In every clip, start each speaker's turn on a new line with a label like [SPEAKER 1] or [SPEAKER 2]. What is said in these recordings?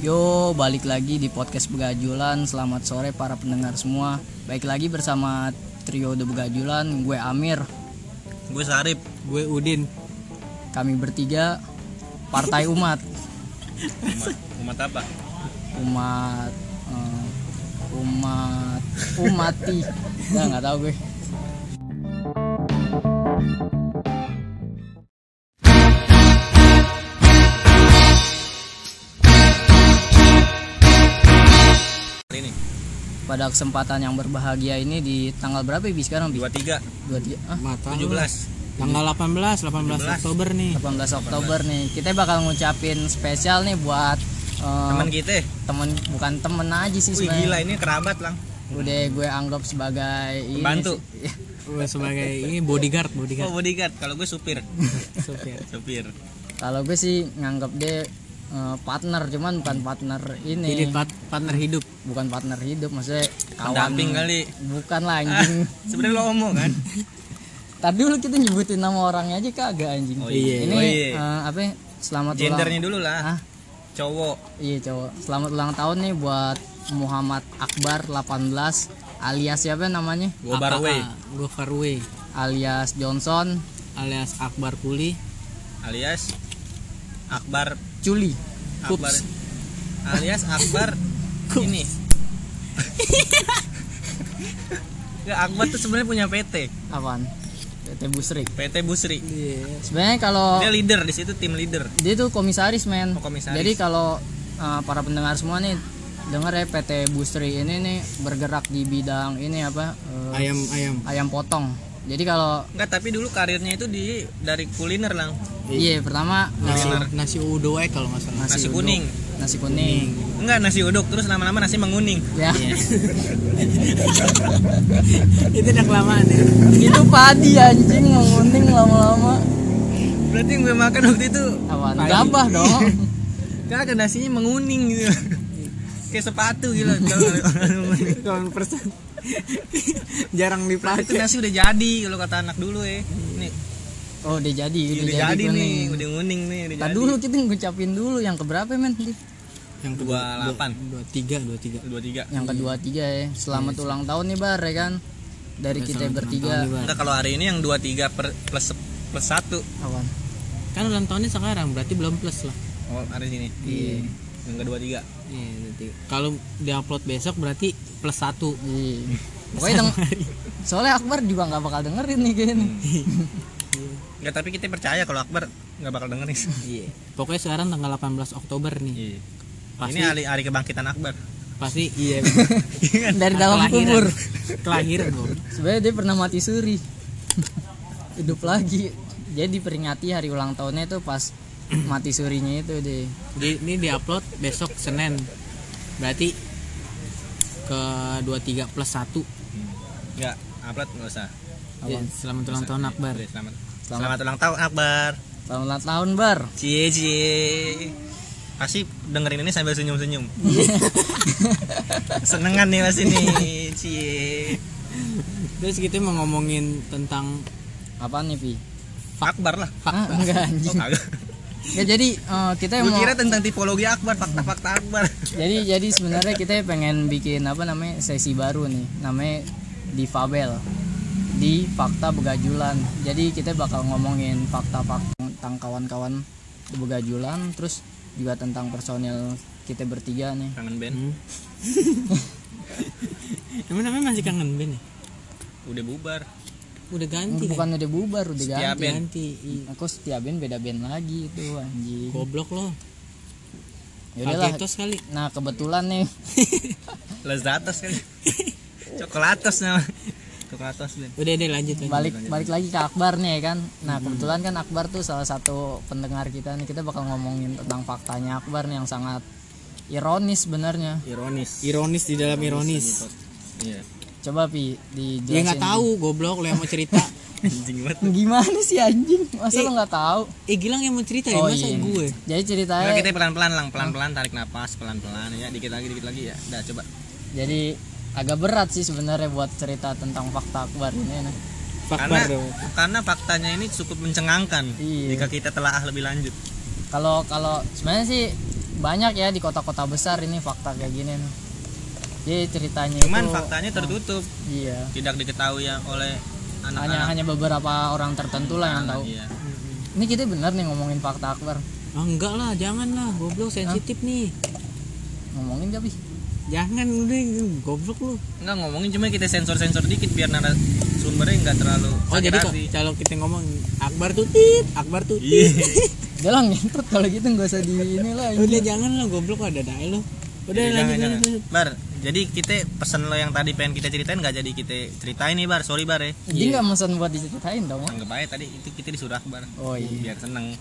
[SPEAKER 1] Yo, balik lagi di podcast Begajulan. Selamat sore para pendengar semua. Baik lagi bersama trio The Begajulan, gue Amir.
[SPEAKER 2] Gue Sarip,
[SPEAKER 3] Gue Udin.
[SPEAKER 1] Kami bertiga Partai Umat.
[SPEAKER 2] umat, umat apa?
[SPEAKER 1] Umat eh, umat umati. Udah nggak tahu gue.
[SPEAKER 2] Hari ini
[SPEAKER 1] Pada kesempatan yang berbahagia ini di tanggal berapa ya, Bi sekarang Bi?
[SPEAKER 2] 23,
[SPEAKER 1] Dua, tiga, ah,
[SPEAKER 3] Mata
[SPEAKER 2] 17.
[SPEAKER 3] Tanggal 18, 18 Oktober nih.
[SPEAKER 1] 18 Oktober nih. Kita bakal ngucapin spesial nih buat eh,
[SPEAKER 2] Teman kita.
[SPEAKER 1] temen bukan temen aja sih
[SPEAKER 2] Wih
[SPEAKER 1] sebenarnya.
[SPEAKER 2] gila ini kerabat lang.
[SPEAKER 1] Udah gue anggap sebagai ini
[SPEAKER 2] Bantu.
[SPEAKER 1] sih.
[SPEAKER 3] Gue Oh, sebagai ini bodyguard,
[SPEAKER 2] Oh
[SPEAKER 3] bodyguard
[SPEAKER 2] bodyguard, kalau gue supir.
[SPEAKER 3] Iya. supir.
[SPEAKER 2] supir.
[SPEAKER 1] Kalau gue sih nganggap dia eh, partner, cuman bukan partner ini,
[SPEAKER 3] Jadi pat- partner hidup.
[SPEAKER 1] bukan partner hidup, maksudnya kawan.
[SPEAKER 2] Pendamping kali.
[SPEAKER 1] Bukan lah anjing.
[SPEAKER 2] Sebenarnya lo omong kan?
[SPEAKER 1] Tadi dulu kita nyebutin nama orangnya aja kagak anjing.
[SPEAKER 2] Oh iya.
[SPEAKER 1] Ini
[SPEAKER 2] Oh iya.
[SPEAKER 1] eh, apa? ya, Selamat
[SPEAKER 2] Gendernya
[SPEAKER 1] ulang.
[SPEAKER 2] dulu lah.
[SPEAKER 1] Ah,
[SPEAKER 2] Cowok.
[SPEAKER 1] iya cowok. Selamat ulang tahun nih buat Muhammad Akbar 18 alias siapa namanya?
[SPEAKER 2] Gue baru
[SPEAKER 3] AKA, Gue Farway
[SPEAKER 1] Alias Johnson
[SPEAKER 3] alias Akbar Kuli.
[SPEAKER 2] alias Akbar
[SPEAKER 1] Culi.
[SPEAKER 2] Akbar alias Akbar ini. Nggak, Akbar tuh sebenarnya punya PT,
[SPEAKER 1] Apaan? PT Busri.
[SPEAKER 2] PT Busri.
[SPEAKER 3] Iya.
[SPEAKER 1] Sebenarnya kalau
[SPEAKER 3] Oh.
[SPEAKER 2] Dia leader di situ tim leader.
[SPEAKER 1] dia tuh komisaris men
[SPEAKER 2] Oh, komisaris.
[SPEAKER 1] jadi kalau uh, para pendengar semua nih dengar ya PT Busri ini nih bergerak di bidang ini apa uh,
[SPEAKER 3] Ayam ayam.
[SPEAKER 1] ayam potong jadi kalau
[SPEAKER 2] Enggak, tapi dulu karirnya itu di dari kuliner lang.
[SPEAKER 1] iya pertama
[SPEAKER 3] Nasi nasi udoe kalau nggak salah.
[SPEAKER 2] Nasi
[SPEAKER 1] uduk,
[SPEAKER 2] kuning.
[SPEAKER 1] nasi kuning
[SPEAKER 2] Enggak nasi uduk terus lama-lama nasi menguning.
[SPEAKER 1] ya
[SPEAKER 2] Iya.
[SPEAKER 3] Itu udah kelamaan ya.
[SPEAKER 1] itu padi anjing nguning lama-lama
[SPEAKER 2] Berarti yang gue makan waktu itu
[SPEAKER 1] awan gabah dong
[SPEAKER 2] Iya, kagak nasinya menguning gitu. Kayak sepatu gila. Kalau orang menguning.
[SPEAKER 3] Kawan persen. Jarang dipakai.
[SPEAKER 2] itu nasi udah jadi kalau kata anak dulu ya. Nih,
[SPEAKER 1] oh udah jadi
[SPEAKER 2] udah,
[SPEAKER 1] udah,
[SPEAKER 2] jadi, nih,
[SPEAKER 1] kuning
[SPEAKER 2] udah nguning nih, udah
[SPEAKER 1] Tadi
[SPEAKER 2] jadi. Iya.
[SPEAKER 1] dulu kita ngucapin dulu yang keberapa men
[SPEAKER 3] Yang
[SPEAKER 2] Dua delapan.
[SPEAKER 3] Dua tiga, dua tiga.
[SPEAKER 2] Dua tiga.
[SPEAKER 1] yang kedua tiga ya selamat
[SPEAKER 2] Iya,
[SPEAKER 1] ulang tahun nih bar ya kan dari kita bertiga
[SPEAKER 2] Kita kalau hari ini yang dua tiga per, plus plus satu.
[SPEAKER 1] awan
[SPEAKER 3] Kan ulang tahunnya sekarang berarti belum plus lah.
[SPEAKER 2] Oh hari sini.
[SPEAKER 1] Iya.
[SPEAKER 2] Yang kedua tiga.
[SPEAKER 3] Iya, nanti. Kalau diupload besok berarti plus satu.
[SPEAKER 1] Iya. Pokoknya deng- soalnya Akbar juga nggak bakal dengerin nih kayaknya. nih.
[SPEAKER 2] Enggak tapi kita percaya kalau Akbar nggak bakal dengerin.
[SPEAKER 3] Iya. Pokoknya sekarang tanggal 18 Oktober nih.
[SPEAKER 2] Iya.
[SPEAKER 3] Pasti
[SPEAKER 2] Ini hari hari kebangkitan Akbar.
[SPEAKER 3] pasti iya.
[SPEAKER 1] Dari dalam
[SPEAKER 3] Kelahiran.
[SPEAKER 1] kubur.
[SPEAKER 3] Kelahiran dong.
[SPEAKER 1] Sebenarnya dia pernah mati suri. Hidup lagi. Jadi peringati hari ulang tahunnya itu pas mati surinya itu deh.
[SPEAKER 3] Di, ini diupload besok Senin. Berarti ke 23 plus 1
[SPEAKER 2] Enggak, upload nggak usah.
[SPEAKER 3] Ya, selamat ulang tahun Akbar.
[SPEAKER 2] Iya, Selamat. Selamat, ulang tahun Akbar.
[SPEAKER 1] Selamat ulang tahun Bar.
[SPEAKER 2] Cie cie. Pasti dengerin ini sambil senyum-senyum. Senengan nih pasti nih. Cie.
[SPEAKER 3] Terus kita mau ngomongin tentang
[SPEAKER 1] Apa nih Pi?
[SPEAKER 2] Akbar lah.
[SPEAKER 1] Ah, enggak
[SPEAKER 2] Oh,
[SPEAKER 1] anjing.
[SPEAKER 2] kagak.
[SPEAKER 1] Ya, jadi eh, kita
[SPEAKER 2] Gue
[SPEAKER 1] mau
[SPEAKER 2] kira tentang tipologi Akbar, fakta-fakta Akbar.
[SPEAKER 1] jadi jadi sebenarnya kita pengen bikin apa namanya sesi baru nih namanya di Fabel di fakta begajulan jadi kita bakal ngomongin fakta-fakta tentang kawan-kawan begajulan terus juga tentang personil kita bertiga nih
[SPEAKER 2] Kangen band
[SPEAKER 3] hmm. Emang namanya masih kangen Ben ya?
[SPEAKER 2] udah bubar.
[SPEAKER 3] Udah ganti kan?
[SPEAKER 1] bukan udah bubar udah
[SPEAKER 2] Setia
[SPEAKER 1] ganti
[SPEAKER 2] band.
[SPEAKER 3] Ganti. Iya.
[SPEAKER 1] aku setiap band beda band lagi itu anjing
[SPEAKER 3] Goblok lo.
[SPEAKER 1] Yaudahlah.
[SPEAKER 3] Kagetos kali.
[SPEAKER 1] nah kebetulan nih
[SPEAKER 2] Lezatos kali. Coklatos nama. Coklatos band.
[SPEAKER 3] Udah deh lanjut lanjut.
[SPEAKER 1] balik balik lagi ke Akbar nih ya kan nah kebetulan kan Akbar tuh salah satu pendengar kita nih kita bakal ngomongin tentang faktanya Akbar nih yang sangat ironis sebenarnya Iya.
[SPEAKER 2] Ironis.
[SPEAKER 3] Ironis di dalam ironis.
[SPEAKER 2] Iya.
[SPEAKER 1] coba pi
[SPEAKER 3] Dia
[SPEAKER 1] dijelasin
[SPEAKER 3] Ya, nggak tahu goblok lo yang mau cerita.
[SPEAKER 2] Anjing banget.
[SPEAKER 1] gimana sih anjing masa lo nggak tahu Oh, iya.
[SPEAKER 3] eh Gilang yang mau cerita ya masa gue.
[SPEAKER 1] jadi ceritanya
[SPEAKER 2] Udah kita pelan-pelan lang, pelan-pelan tarik napas, pelan-pelan ya, dikit lagi, dikit lagi ya. Udah coba.
[SPEAKER 1] jadi agak berat sih sebenarnya buat cerita tentang fakta Akbar ini nah.
[SPEAKER 2] karena
[SPEAKER 3] Fakbar dong.
[SPEAKER 2] karena faktanya ini cukup mencengangkan
[SPEAKER 1] Iya.
[SPEAKER 2] jika kita telah lebih lanjut
[SPEAKER 1] kalau kalau sebenarnya sih banyak ya di kota-kota besar ini fakta kayak gini nih. Jadi ceritanya itu
[SPEAKER 2] cuman faktanya tertutup
[SPEAKER 1] iya
[SPEAKER 2] tidak diketahui ya oleh
[SPEAKER 1] hanya
[SPEAKER 2] anak-anak
[SPEAKER 1] hanya beberapa orang tertentu lah yang tahu.
[SPEAKER 2] Iya.
[SPEAKER 1] Ini kita bener nih ngomongin fakta Akbar.
[SPEAKER 3] Ah, enggak lah, jangan lah, goblok sensitif nih.
[SPEAKER 1] Ngomongin gak, Bi?
[SPEAKER 3] Jangan udah goblok lu. Oh,
[SPEAKER 2] Enggak ngomongin cuma kita sensor-sensor dikit biar narasumbernya enggak terlalu
[SPEAKER 3] Oh
[SPEAKER 2] sakit
[SPEAKER 3] jadi kok
[SPEAKER 2] hati.
[SPEAKER 3] kalau kita ngomong Akbar tuh tit, Akbar tuh tit.
[SPEAKER 2] Iya.
[SPEAKER 1] Udah lah ngentot kalau gitu nggak usah di ini lah. ini.
[SPEAKER 3] udah jangan lah goblok ada dae lu. Udah
[SPEAKER 2] Jadi Iya,
[SPEAKER 3] lanjut
[SPEAKER 2] jangan,
[SPEAKER 3] lanjut.
[SPEAKER 2] jangan.
[SPEAKER 3] lanjut.
[SPEAKER 2] Bar, jadi kita pesen lo yang tadi pengen kita ceritain nggak jadi kita ceritain nih Bar, sorry Bar ya.
[SPEAKER 1] Jadi nggak mesen buat diceritain dong.
[SPEAKER 2] Anggap aja tadi itu kita disuruh Akbar.
[SPEAKER 1] Oh iya.
[SPEAKER 2] Biar seneng.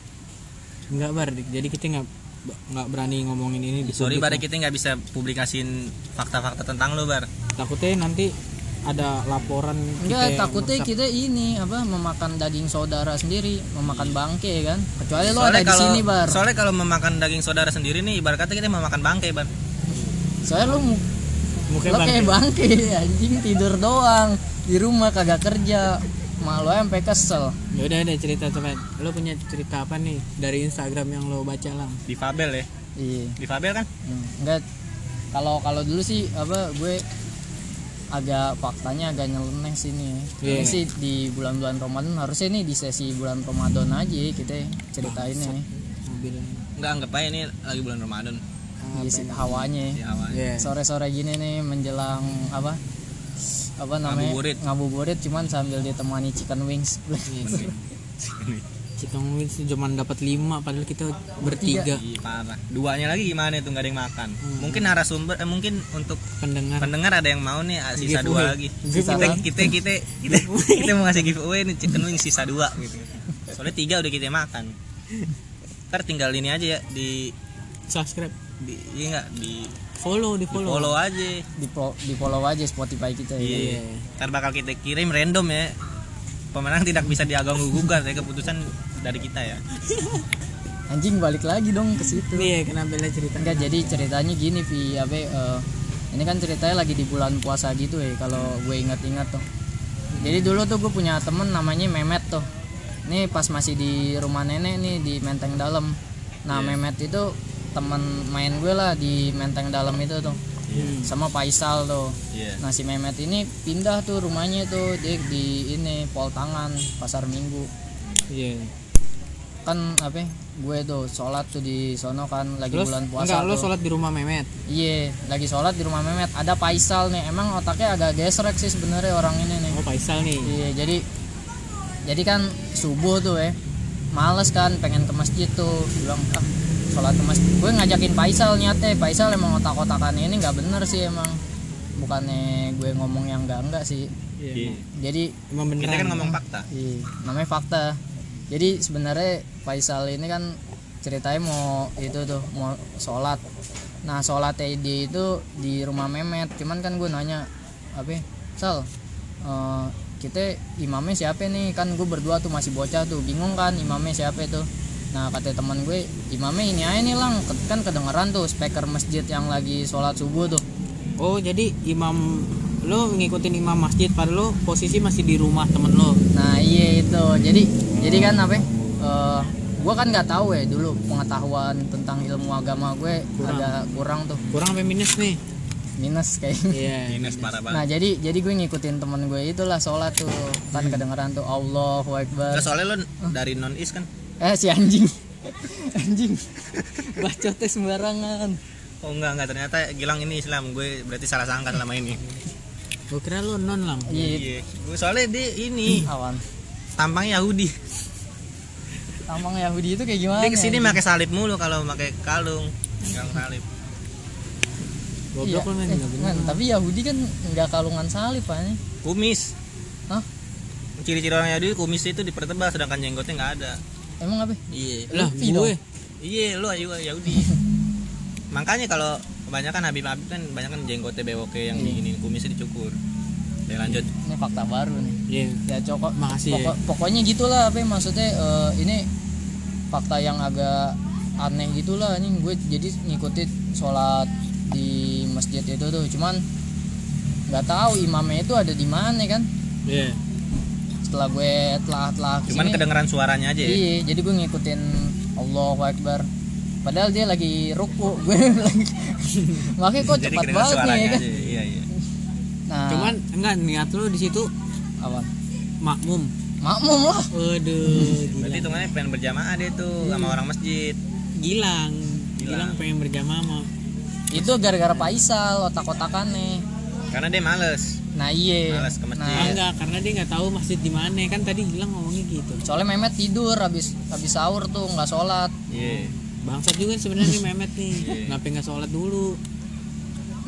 [SPEAKER 3] Enggak bar, jadi kita nggak nggak berani ngomongin ini di
[SPEAKER 2] Sorry
[SPEAKER 3] publik,
[SPEAKER 2] Bar ya,
[SPEAKER 3] Bar.
[SPEAKER 2] kita nggak bisa publikasiin fakta-fakta tentang lo Bar.
[SPEAKER 3] Takutnya nanti ada laporan
[SPEAKER 1] Enggak,
[SPEAKER 3] yang
[SPEAKER 1] takutnya
[SPEAKER 3] merusak.
[SPEAKER 1] kita ini apa memakan daging saudara sendiri, memakan bangke kan. Kecuali lo ada
[SPEAKER 2] Soalnya
[SPEAKER 1] di
[SPEAKER 2] kalau
[SPEAKER 1] sini, Bar.
[SPEAKER 2] soalnya kalau memakan daging saudara sendiri nih ibarat kata kita memakan bangkai Bar.
[SPEAKER 1] Soalnya lo mu-
[SPEAKER 3] mungkin
[SPEAKER 1] lo
[SPEAKER 3] bang
[SPEAKER 1] kayak bangke anjing tidur doang di rumah kagak kerja. Mak lo sampai kesel.
[SPEAKER 3] ya udah deh cerita coba lo punya cerita apa nih dari Instagram yang lo baca lah
[SPEAKER 2] Di Fabel ya.
[SPEAKER 1] Iya.
[SPEAKER 2] Di Fabel kan?
[SPEAKER 1] Hmm, Enggak kalau kalau dulu sih apa gue agak faktanya agak nyeleneh sini. Ini
[SPEAKER 3] Iya.
[SPEAKER 1] sih di bulan-bulan Ramadan harusnya nih di sesi bulan Ramadan aja kita ceritain ya.
[SPEAKER 3] mobilnya
[SPEAKER 2] Enggak anggap aja ini lagi bulan Ramadan
[SPEAKER 1] Iya sih, hawanya.
[SPEAKER 2] di awal.
[SPEAKER 3] ya
[SPEAKER 1] Sore-sore gini nih menjelang apa? Apa namanya?
[SPEAKER 2] Ngabuburit. Iya.
[SPEAKER 1] Ngabuburit cuman sambil ditemani chicken wings.
[SPEAKER 3] kita ngomongin sih cuma dapat lima padahal kita bertiga
[SPEAKER 2] Iya parah. Duanya lagi gimana tuh nggak ada yang makan. Mungkin narasumber eh, mungkin untuk
[SPEAKER 3] pendengar
[SPEAKER 2] pendengar ada yang mau nih ah, sisa dua lagi.
[SPEAKER 1] Sisa
[SPEAKER 2] Kita
[SPEAKER 1] dua.
[SPEAKER 2] kita kita kita, kita mau ngasih giveaway nih chicken wing sisa dua gitu. Soalnya tiga udah kita makan. Ntar tinggal ini aja ya di
[SPEAKER 3] subscribe
[SPEAKER 2] di iya nggak di,
[SPEAKER 3] follow di
[SPEAKER 2] di
[SPEAKER 3] follow,
[SPEAKER 2] follow aja.
[SPEAKER 1] Di, pro- di follow aja Spotify kita ya.
[SPEAKER 2] Iya. Ntar bakal kita kirim random ya. Pemenang tidak bisa diagang gugat ya keputusan dari kita ya.
[SPEAKER 1] Anjing balik lagi dong ke situ.
[SPEAKER 3] Iya, kenapa lah cerita?
[SPEAKER 1] Enggak jadi ceritanya gini Vi apa eh, ini kan ceritanya lagi di bulan puasa gitu ya kalau gue ingat-ingat tuh. Jadi dulu tuh gue punya temen namanya Memet tuh. Ini pas masih di rumah nenek nih di Menteng Dalam.
[SPEAKER 3] Iya.
[SPEAKER 1] Nah Memet itu temen main gue lah di Menteng Dalam itu tuh.
[SPEAKER 3] Iya.
[SPEAKER 1] Sama Faisal tuh.
[SPEAKER 2] Iya.
[SPEAKER 1] Nah si Memet ini pindah tuh rumahnya tuh dia di ini Poltangan Pasar Minggu
[SPEAKER 3] Iya.
[SPEAKER 1] kan apa gue tuh sholat tuh di sono kan lagi
[SPEAKER 3] Terus
[SPEAKER 1] bulan puasa
[SPEAKER 3] enggak lo
[SPEAKER 1] tuh.
[SPEAKER 3] sholat di rumah Memet.
[SPEAKER 1] Iya, lagi sholat di rumah Memet. Ada Faisal nih, emang otaknya agak gesrek sih sebenarnya orang ini nih.
[SPEAKER 3] Oh, Faisal nih.
[SPEAKER 1] Iya, jadi jadi kan subuh tuh ya, males kan, pengen ke masjid tuh, bilang ah sholat ke masjid. Gue ngajakin Faisal niatnya, Faisal emang otak-otakan ini nggak bener sih emang. Bukannya gue ngomong yang enggak enggak sih.
[SPEAKER 2] Iya.
[SPEAKER 1] Jadi
[SPEAKER 3] Emang
[SPEAKER 2] Kita
[SPEAKER 3] beneran.
[SPEAKER 2] kan ngomong fakta.
[SPEAKER 1] Iya, namanya fakta. Jadi sebenarnya Faisal ini kan ceritanya mau itu tuh mau sholat. Nah sholatnya dia itu di rumah Memet. Cuman kan gue nanya apa? ya, Sal, eh, kita imamnya siapa nih? Kan gue berdua tuh masih bocah tuh bingung kan imamnya siapa tuh. Nah kata teman gue imamnya ini aja nih lang kan kedengeran tuh speaker masjid yang lagi sholat subuh tuh.
[SPEAKER 3] Oh, jadi imam lo ngikutin imam masjid pada lo posisi masih di rumah temen lo.
[SPEAKER 1] Nah iya itu jadi jadi kan apa? ya, eh, gue kan nggak tahu ya dulu pengetahuan tentang ilmu agama gue agak kurang tuh
[SPEAKER 3] Kurang apa minus nih?
[SPEAKER 1] minus kayaknya.
[SPEAKER 3] Iya.
[SPEAKER 2] Ines parah banget.
[SPEAKER 1] Nah jadi jadi gue ngikutin temen gue itulah sholat tuh kan kedengeran tuh Allahu Akbar.
[SPEAKER 2] Nggak, soalnya lo dari non is kan?
[SPEAKER 1] Eh si anjing anjing bacotnya sembarangan.
[SPEAKER 2] Oh enggak enggak ternyata Gilang ini Islam. Gue berarti salah sangka selama ini.
[SPEAKER 3] Gue kira lo non lang.
[SPEAKER 1] Iya
[SPEAKER 2] Iya. Gue soalnya dia ini
[SPEAKER 1] awan.
[SPEAKER 2] tampang Yahudi.
[SPEAKER 1] Tamang Yahudi itu kayak gimana?
[SPEAKER 2] Dia kesini pakai salib mulu kalau pakai kalung. Kalung salib.
[SPEAKER 3] Goblok lo men,
[SPEAKER 1] Iya, eh,
[SPEAKER 3] nggak bener.
[SPEAKER 1] men, tapi Yahudi kan nggak kalungan salib aja.
[SPEAKER 2] Kumis.
[SPEAKER 1] Hah?
[SPEAKER 2] Ciri-ciri orang Yahudi kumis itu dipertebal sedangkan jenggotnya nggak ada.
[SPEAKER 1] Emang apa?
[SPEAKER 2] Iya.
[SPEAKER 3] Lah,
[SPEAKER 1] Luffy
[SPEAKER 3] gue.
[SPEAKER 2] Iya, lu ayu- Yahudi. Makanya kalau kebanyakan Habib-Habib kan banyak kan jenggotnya bewoke
[SPEAKER 1] Iya.
[SPEAKER 2] yang diinin kumisnya dicukur. Ya lanjut.
[SPEAKER 1] Ini fakta baru nih. ya
[SPEAKER 3] Iya.
[SPEAKER 1] cokok
[SPEAKER 3] Makasih,
[SPEAKER 1] pokok- pokoknya gitulah apa ya, maksudnya eh, ini fakta yang agak aneh gitulah ini gue jadi ngikutin sholat di masjid itu tuh cuman nggak tahu imamnya itu ada di mana kan
[SPEAKER 3] Iya.
[SPEAKER 1] setelah gue telah telah
[SPEAKER 2] Cuman kedengeran suaranya aja ya.
[SPEAKER 1] iya jadi gue ngikutin Allahu Akbar padahal dia lagi ruku gue lagi makanya kok
[SPEAKER 2] jadi
[SPEAKER 1] cepat banget nih
[SPEAKER 2] kedengeran suaranya
[SPEAKER 1] ya kan
[SPEAKER 2] aja iya iya
[SPEAKER 1] nah
[SPEAKER 3] Cuman enggak niat lu di situ
[SPEAKER 1] apa
[SPEAKER 3] makmum.
[SPEAKER 1] makmum lah
[SPEAKER 3] Waduh,
[SPEAKER 2] berarti
[SPEAKER 3] gilang.
[SPEAKER 2] hitungannya pengen berjamaah deh tuh sama
[SPEAKER 1] Iya.
[SPEAKER 2] orang masjid
[SPEAKER 3] gilang. Gilang pengen berjamaah sama
[SPEAKER 1] itu gara-gara Paisal otak-otakannya
[SPEAKER 2] karena dia males
[SPEAKER 1] nah iya
[SPEAKER 2] Males ke masjid.
[SPEAKER 3] Ah,
[SPEAKER 1] nah
[SPEAKER 3] enggak, karena dia nggak tahu masjid di mana. Kan tadi Gilang ngomongnya gitu.
[SPEAKER 1] soalnya Mehmet tidur habis habis sahur tuh nggak sholat
[SPEAKER 2] iya
[SPEAKER 3] Bangsat juga sebenarnya nih Mehmet nih.
[SPEAKER 2] Iya.
[SPEAKER 3] Kenapa nggak sholat dulu?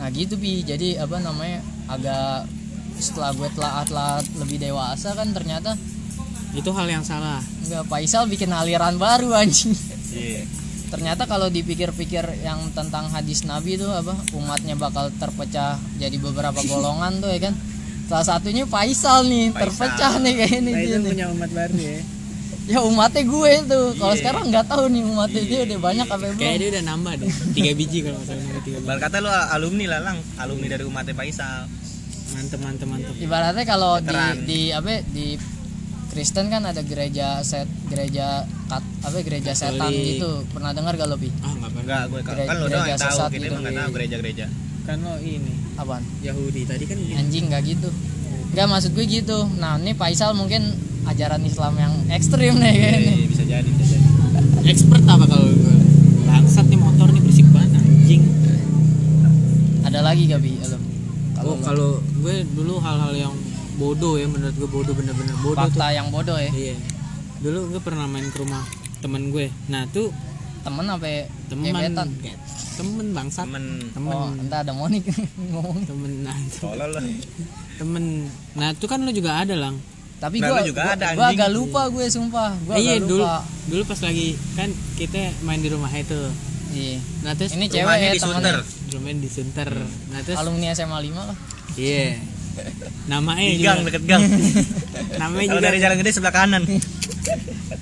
[SPEAKER 1] nah gitu bi jadi apa namanya agak setelah gue telah telah lebih dewasa kan ternyata
[SPEAKER 3] Itu hal yang salah.
[SPEAKER 1] nggak Faisal bikin aliran baru anjing
[SPEAKER 2] iya
[SPEAKER 1] ternyata kalau dipikir-pikir yang tentang hadis Nabi itu apa umatnya bakal terpecah jadi beberapa golongan tuh ya kan salah satunya Faisal nih
[SPEAKER 2] Faisal.
[SPEAKER 1] terpecah nih kayak ini dia nih.
[SPEAKER 3] punya umat baru ya.
[SPEAKER 1] ya umatnya gue tuh kalau
[SPEAKER 2] Iya.
[SPEAKER 1] sekarang nggak tahu nih umatnya dia udah banyak apa
[SPEAKER 3] Kayaknya
[SPEAKER 1] belum
[SPEAKER 3] dia udah nambah deh. Tiga biji kalau nggak salah nambah tiga biji.
[SPEAKER 2] Ibarat kata lu alumni lah lang, alumni dari umatnya Faisal.
[SPEAKER 3] Mantep mantep mantep.
[SPEAKER 1] ibaratnya kalau di
[SPEAKER 2] Veteran.
[SPEAKER 1] di apa ya, di Kristen kan ada gereja set gereja kat apa ya, gereja setan
[SPEAKER 3] Katolik.
[SPEAKER 1] gitu pernah dengar gak lo bi
[SPEAKER 3] Ah nggak pernah.
[SPEAKER 2] Enggak, gue kan,
[SPEAKER 1] Gereja-
[SPEAKER 2] kan lo doang yang
[SPEAKER 1] gereja
[SPEAKER 2] tahu
[SPEAKER 1] sesat
[SPEAKER 2] kita
[SPEAKER 1] gitu.
[SPEAKER 2] mah nggak tahu gereja-gereja.
[SPEAKER 3] Kan lo ini
[SPEAKER 1] apaan
[SPEAKER 3] Yahudi tadi kan
[SPEAKER 1] anjing nggak gitu nggak maksud gue gitu nah ini Faisal mungkin ajaran Islam yang ekstrim nih
[SPEAKER 2] Iya,
[SPEAKER 1] kayak ini
[SPEAKER 2] iya, bisa jadi, bisa jadi.
[SPEAKER 3] expert apa kalau gue? Bangsat nih motor nih berisik banget anjing.
[SPEAKER 1] ada lagi gak bi lo kalau
[SPEAKER 3] Oh, kalau gue dulu hal-hal yang bodoh ya menurut gue bodoh bener-bener bodoh tuh.
[SPEAKER 1] fakta yang bodoh ya
[SPEAKER 3] Iya. Dulu gue pernah main ke rumah temen gue. Nah tuh
[SPEAKER 1] temen apa ya?
[SPEAKER 3] temen
[SPEAKER 1] gebetan?
[SPEAKER 3] Eh, temen bangsat
[SPEAKER 2] Temen
[SPEAKER 3] temen
[SPEAKER 1] oh entah ada Monik ngomong
[SPEAKER 3] temen nah, itu
[SPEAKER 2] tolol lo.
[SPEAKER 3] temen nah itu kan lu juga ada lang
[SPEAKER 1] tapi
[SPEAKER 2] Nah,
[SPEAKER 1] gue
[SPEAKER 2] lu juga ada,
[SPEAKER 1] gue
[SPEAKER 2] anjing.
[SPEAKER 1] agak lupa gue sumpah gue
[SPEAKER 3] Eh, iya
[SPEAKER 1] agak
[SPEAKER 3] dulu
[SPEAKER 1] lupa
[SPEAKER 3] dulu pas lagi kan kita main di rumah itu
[SPEAKER 1] iya
[SPEAKER 3] nah terus
[SPEAKER 1] ini cewek
[SPEAKER 2] Rumahnya
[SPEAKER 1] ya
[SPEAKER 2] di Sunter.
[SPEAKER 1] temennya
[SPEAKER 3] dulu main di Sunter nah terus
[SPEAKER 1] alumni SMA 5 lah
[SPEAKER 3] iya namanya
[SPEAKER 1] Iya.
[SPEAKER 2] Di
[SPEAKER 3] juga
[SPEAKER 2] gang deket gang.
[SPEAKER 3] namanya
[SPEAKER 2] Kalau
[SPEAKER 3] juga
[SPEAKER 2] dari jalan gede sebelah kanan.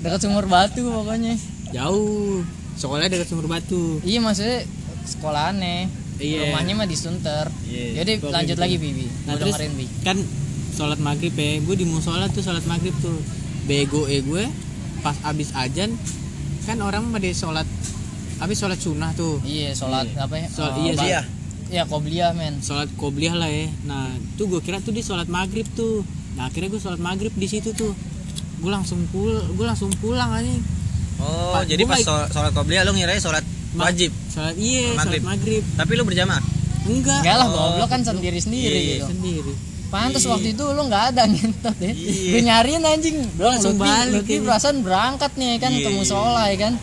[SPEAKER 1] dekat sumur batu pokoknya
[SPEAKER 3] jauh sekolahnya dekat sumur batu
[SPEAKER 1] iya maksudnya sekolahannya
[SPEAKER 3] Iya.
[SPEAKER 1] rumahnya mah di Sunter
[SPEAKER 2] Iya.
[SPEAKER 1] jadi
[SPEAKER 3] Bapak
[SPEAKER 1] lanjut
[SPEAKER 3] gitu.
[SPEAKER 1] lagi Bibi
[SPEAKER 3] nah
[SPEAKER 1] Gua
[SPEAKER 3] terus
[SPEAKER 1] dengerin Bi
[SPEAKER 3] kan sholat maghrib ya gue di musola tuh sholat maghrib tuh bego eh gue pas abis ajan kan orang pada sholat abis sholat sunnah tuh
[SPEAKER 1] iya sholat apa ya
[SPEAKER 3] Sholat-
[SPEAKER 1] Eh,
[SPEAKER 3] iya,
[SPEAKER 1] apa?
[SPEAKER 2] Iya.
[SPEAKER 1] iya qobliyah men
[SPEAKER 3] sholat qobliyah lah ya nah tuh gue kira tuh dia sholat maghrib tuh nah akhirnya gue sholat maghrib di situ tuh gue langsung pul gue langsung pulang aja
[SPEAKER 2] Oh,
[SPEAKER 3] Pak,
[SPEAKER 2] jadi
[SPEAKER 3] gua
[SPEAKER 2] pas
[SPEAKER 3] nggak-
[SPEAKER 2] shol- sholat qobliyah lu ngirain sholat wajib,
[SPEAKER 3] sholat iya
[SPEAKER 2] Maghrib.
[SPEAKER 3] sholat maghrib
[SPEAKER 2] tapi lu berjamaah.
[SPEAKER 3] enggak
[SPEAKER 1] enggak lah
[SPEAKER 2] Oh.
[SPEAKER 1] goblok kan sendiri sendiri
[SPEAKER 2] Iya,
[SPEAKER 1] gitu
[SPEAKER 3] sendiri
[SPEAKER 1] pantas
[SPEAKER 2] Iya.
[SPEAKER 1] waktu itu lu nggak ada ngentot ya
[SPEAKER 2] Iya.
[SPEAKER 1] gue nyariin anjing belum
[SPEAKER 3] Langsung
[SPEAKER 1] Lutfi,
[SPEAKER 3] balik
[SPEAKER 1] Lutfi
[SPEAKER 3] ini.
[SPEAKER 1] perasaan berangkat nih kan
[SPEAKER 2] Iya.
[SPEAKER 1] ke musola ya kan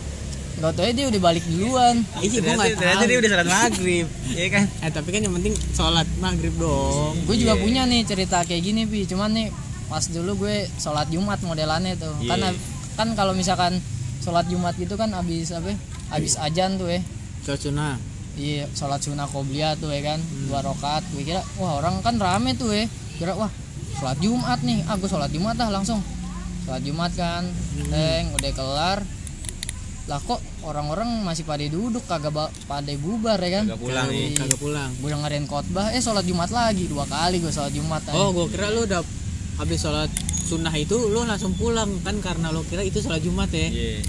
[SPEAKER 1] Gak tau dia udah balik duluan
[SPEAKER 3] iya gue
[SPEAKER 2] Ternyata-
[SPEAKER 3] nggak
[SPEAKER 2] ternyata
[SPEAKER 3] tahu
[SPEAKER 2] dia udah sholat maghrib, iya kan?
[SPEAKER 3] eh tapi kan yang penting sholat maghrib dong
[SPEAKER 1] Gue juga
[SPEAKER 2] Iya.
[SPEAKER 1] punya nih cerita kayak gini Bi Cuman nih pas dulu gue sholat Jumat modelannya tuh
[SPEAKER 2] Iya.
[SPEAKER 1] Kan kan kalau misalkan sholat Jumat gitu kan abis apa ya?
[SPEAKER 2] Iya.
[SPEAKER 1] Abis ajan tuh ya
[SPEAKER 3] sholat sunnah
[SPEAKER 1] Iya sholat sunnah qobliyah tuh ya kan
[SPEAKER 2] Hmm.
[SPEAKER 1] Dua rokat Gue kira wah orang kan rame tuh ya Kira wah sholat Jumat nih Ah gue sholat Jumat dah langsung Sholat Jumat kan
[SPEAKER 2] Hmm.
[SPEAKER 1] Teng udah kelar Lah kok orang-orang masih pada duduk kagak ba- pada bubar ya kan
[SPEAKER 2] Kagak pulang
[SPEAKER 3] Kagak-
[SPEAKER 2] nih.
[SPEAKER 3] kagak pulang
[SPEAKER 1] Gue dengerin khotbah Eh sholat Jumat lagi Dua kali gue sholat Jumat anjing.
[SPEAKER 3] oh gue kira lu udah habis sholat sunnah itu lu langsung pulang kan karena lo kira itu sholat jumat ya
[SPEAKER 2] Iya.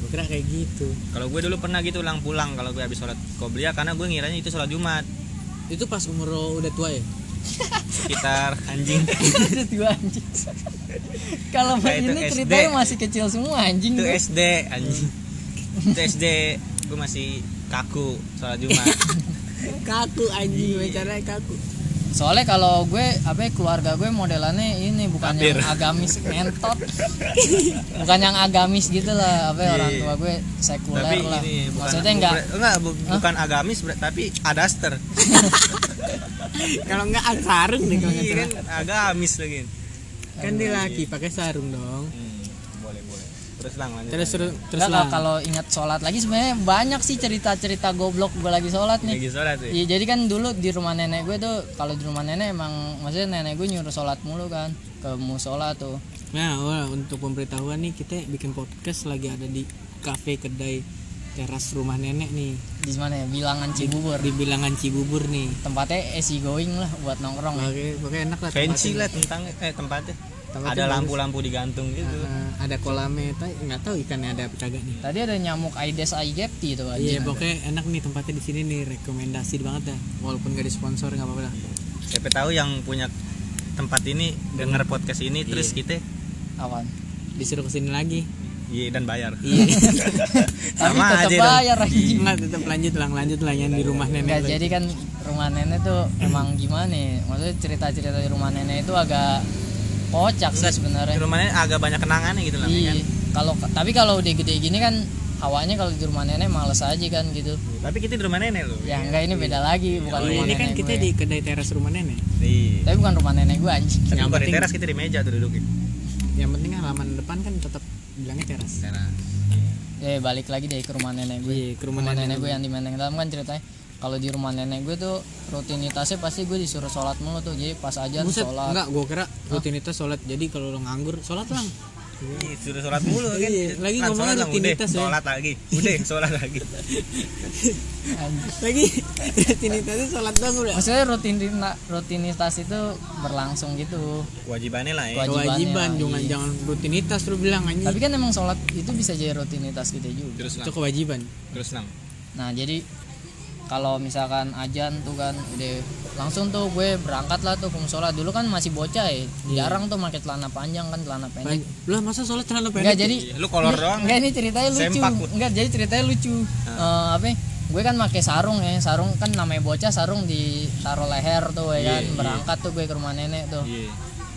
[SPEAKER 3] gue kira kayak gitu
[SPEAKER 2] Kalau gue dulu pernah gitu lang pulang kalau gue habis sholat qobliyah karena gue ngiranya itu sholat Jumat.
[SPEAKER 3] itu pas umur lo udah tua ya
[SPEAKER 2] Sekitar anjing.
[SPEAKER 1] Maksud gua anjing. Kalau
[SPEAKER 2] Nah, itu
[SPEAKER 1] ini
[SPEAKER 2] SD.
[SPEAKER 1] ceritanya masih kecil semua anjing.
[SPEAKER 2] itu
[SPEAKER 1] gua.
[SPEAKER 2] SD anjing itu SD gue masih kaku sholat jumat
[SPEAKER 3] kaku anjing bicaranya kaku
[SPEAKER 1] Soalnya kalau gue apa ya, keluarga gue modelannya ini bukan
[SPEAKER 2] Kafir.
[SPEAKER 1] yang agamis mentot. bukan yang agamis gitu lah apa orang
[SPEAKER 2] Iya.
[SPEAKER 1] tua gue sekuler
[SPEAKER 2] tapi
[SPEAKER 1] lah.
[SPEAKER 2] ini bukan
[SPEAKER 1] Maksudnya enggak
[SPEAKER 2] bu- enggak, bu- bukan agamis ber- tapi adaster
[SPEAKER 3] kalau enggak sarung deh kalau nggak
[SPEAKER 2] iya kan
[SPEAKER 3] salah.
[SPEAKER 2] agamis lagi
[SPEAKER 3] kan dia laki pakai sarung dong
[SPEAKER 2] boleh boleh terus lang lanjut
[SPEAKER 3] terus terus terus
[SPEAKER 1] enggak
[SPEAKER 3] lah
[SPEAKER 1] lah, kalau ingat sholat lagi sebenarnya banyak sih cerita-cerita goblok gue lagi sholat nih.
[SPEAKER 2] lagi sholat tuh
[SPEAKER 1] Iya jadi kan dulu di rumah nenek gue tuh kalau di rumah nenek emang maksudnya nenek gue nyuruh sholat mulu kan ke musola tuh.
[SPEAKER 3] nah wah, untuk pemberitahuan nih kita bikin podcast lagi ada di kafe kedai teras rumah nenek nih
[SPEAKER 1] Di mana ya? Bilangan Cibubur.
[SPEAKER 3] di bilangan Cibubur nih
[SPEAKER 1] tempatnya easy going lah buat nongkrong ya.
[SPEAKER 2] Iya.
[SPEAKER 3] Oke, pokoknya enak lah
[SPEAKER 2] fancy
[SPEAKER 3] tempatnya.
[SPEAKER 2] lah tentang eh tempatnya
[SPEAKER 3] Tambah
[SPEAKER 2] ada
[SPEAKER 3] tuh bagus.
[SPEAKER 2] lampu-lampu digantung gitu
[SPEAKER 3] Ah, ada kolamnya tapi nggak tahu ikannya ada apa kagak nih
[SPEAKER 1] Tadi ada nyamuk Aedes aegypti itu
[SPEAKER 3] Iya
[SPEAKER 1] anjing.
[SPEAKER 3] pokoknya enak nih tempatnya di sini nih rekomendasi banget dah walaupun gak ada sponsor nggak apa-apa lah
[SPEAKER 2] siapa tahu yang punya tempat ini denger podcast ini terus kita
[SPEAKER 3] Iya.
[SPEAKER 1] Awan.
[SPEAKER 3] disuruh kesini lagi
[SPEAKER 2] iya dan bayar
[SPEAKER 3] iya
[SPEAKER 1] Tapi
[SPEAKER 2] Sama
[SPEAKER 1] tetap
[SPEAKER 2] aja dong. Iya,
[SPEAKER 1] bayar anjing.
[SPEAKER 3] nggak tetap lanjut lang lanjut lah yang di rumah
[SPEAKER 1] Nggak,
[SPEAKER 3] nenek lu.
[SPEAKER 1] jadi kan rumah nenek tuh emang gimana ya? Maksudnya cerita-cerita di rumah nenek itu agak kocak sih
[SPEAKER 2] Di
[SPEAKER 1] sebenarnya.
[SPEAKER 2] rumahnya agak banyak kenangan gitu lah
[SPEAKER 1] Iya.
[SPEAKER 2] kan
[SPEAKER 1] Kalau tapi kalau udah gede gini kan hawanya kalau di rumah nenek males aja kan gitu.
[SPEAKER 3] Iya.
[SPEAKER 2] tapi kita di rumah nenek loh
[SPEAKER 1] Ya enggak ini beda lagi bukan
[SPEAKER 3] Oh,
[SPEAKER 1] rumah
[SPEAKER 3] ini kan
[SPEAKER 1] nenek
[SPEAKER 3] kita
[SPEAKER 1] gue.
[SPEAKER 3] di kedai teras rumah nenek
[SPEAKER 2] Iya.
[SPEAKER 1] Tapi bukan rumah nenek gue anjing.
[SPEAKER 2] tapi
[SPEAKER 3] Yang
[SPEAKER 2] bukan di
[SPEAKER 3] penting-
[SPEAKER 2] teras kita di meja tuh duduk
[SPEAKER 3] yang penting halaman depan kan tetap bilangnya teras
[SPEAKER 2] teras
[SPEAKER 1] Ya balik lagi deh ke rumah nenek gue.
[SPEAKER 3] Iya, ke rumah
[SPEAKER 1] rumah
[SPEAKER 3] nenek
[SPEAKER 1] nenek gue yang di Menteng Dalam kan ceritanya kalau di rumah nenek gue tuh rutinitasnya pasti gue disuruh sholat mulu tuh jadi pas aja
[SPEAKER 3] Buset,
[SPEAKER 1] sholat
[SPEAKER 3] enggak gue kira rutinitas sholat jadi kalau lo nganggur sholat lang
[SPEAKER 2] Iya, suruh sholat mulu kan.
[SPEAKER 3] Iya, lagi
[SPEAKER 2] Lan, sholat
[SPEAKER 3] ngomongin
[SPEAKER 2] lang,
[SPEAKER 3] rutinitas
[SPEAKER 2] udah,
[SPEAKER 3] ya.
[SPEAKER 2] Sholat lagi. Udah, sholat lagi.
[SPEAKER 1] Anjing.
[SPEAKER 3] lagi rutinitasnya sholat doang udah
[SPEAKER 1] maksudnya rutinita- rutinitas itu berlangsung gitu
[SPEAKER 2] Kewajibannya lah ya.
[SPEAKER 1] Kewajibannya
[SPEAKER 3] kewajiban
[SPEAKER 1] lah,
[SPEAKER 3] jangan
[SPEAKER 1] iya.
[SPEAKER 3] jangan rutinitas lu bilang anjing
[SPEAKER 1] tapi kan emang sholat itu bisa jadi rutinitas kita juga
[SPEAKER 2] Terus lang,
[SPEAKER 3] itu kewajiban
[SPEAKER 2] terus lang.
[SPEAKER 1] nah jadi kalau misalkan ajan tuh kan udah langsung tuh gue berangkat lah tuh ke musola dulu kan masih bocah
[SPEAKER 3] Iya.
[SPEAKER 1] ya jarang tuh pakai celana panjang kan celana pendek
[SPEAKER 3] Baik. lah masa sholat celana
[SPEAKER 1] enggak
[SPEAKER 3] pendek ya?
[SPEAKER 1] jadi
[SPEAKER 2] Iya, Lu kolor doang.
[SPEAKER 1] enggak ini ceritanya lucu
[SPEAKER 2] Sempak, Bu. Ah.
[SPEAKER 1] enggak jadi ceritanya lucu Eh, apa ya, gue kan pakai sarung ya sarung kan namanya bocah sarung ditaruh leher tuh ya kan berangkat tuh gue ke rumah nenek tuh
[SPEAKER 2] Iya.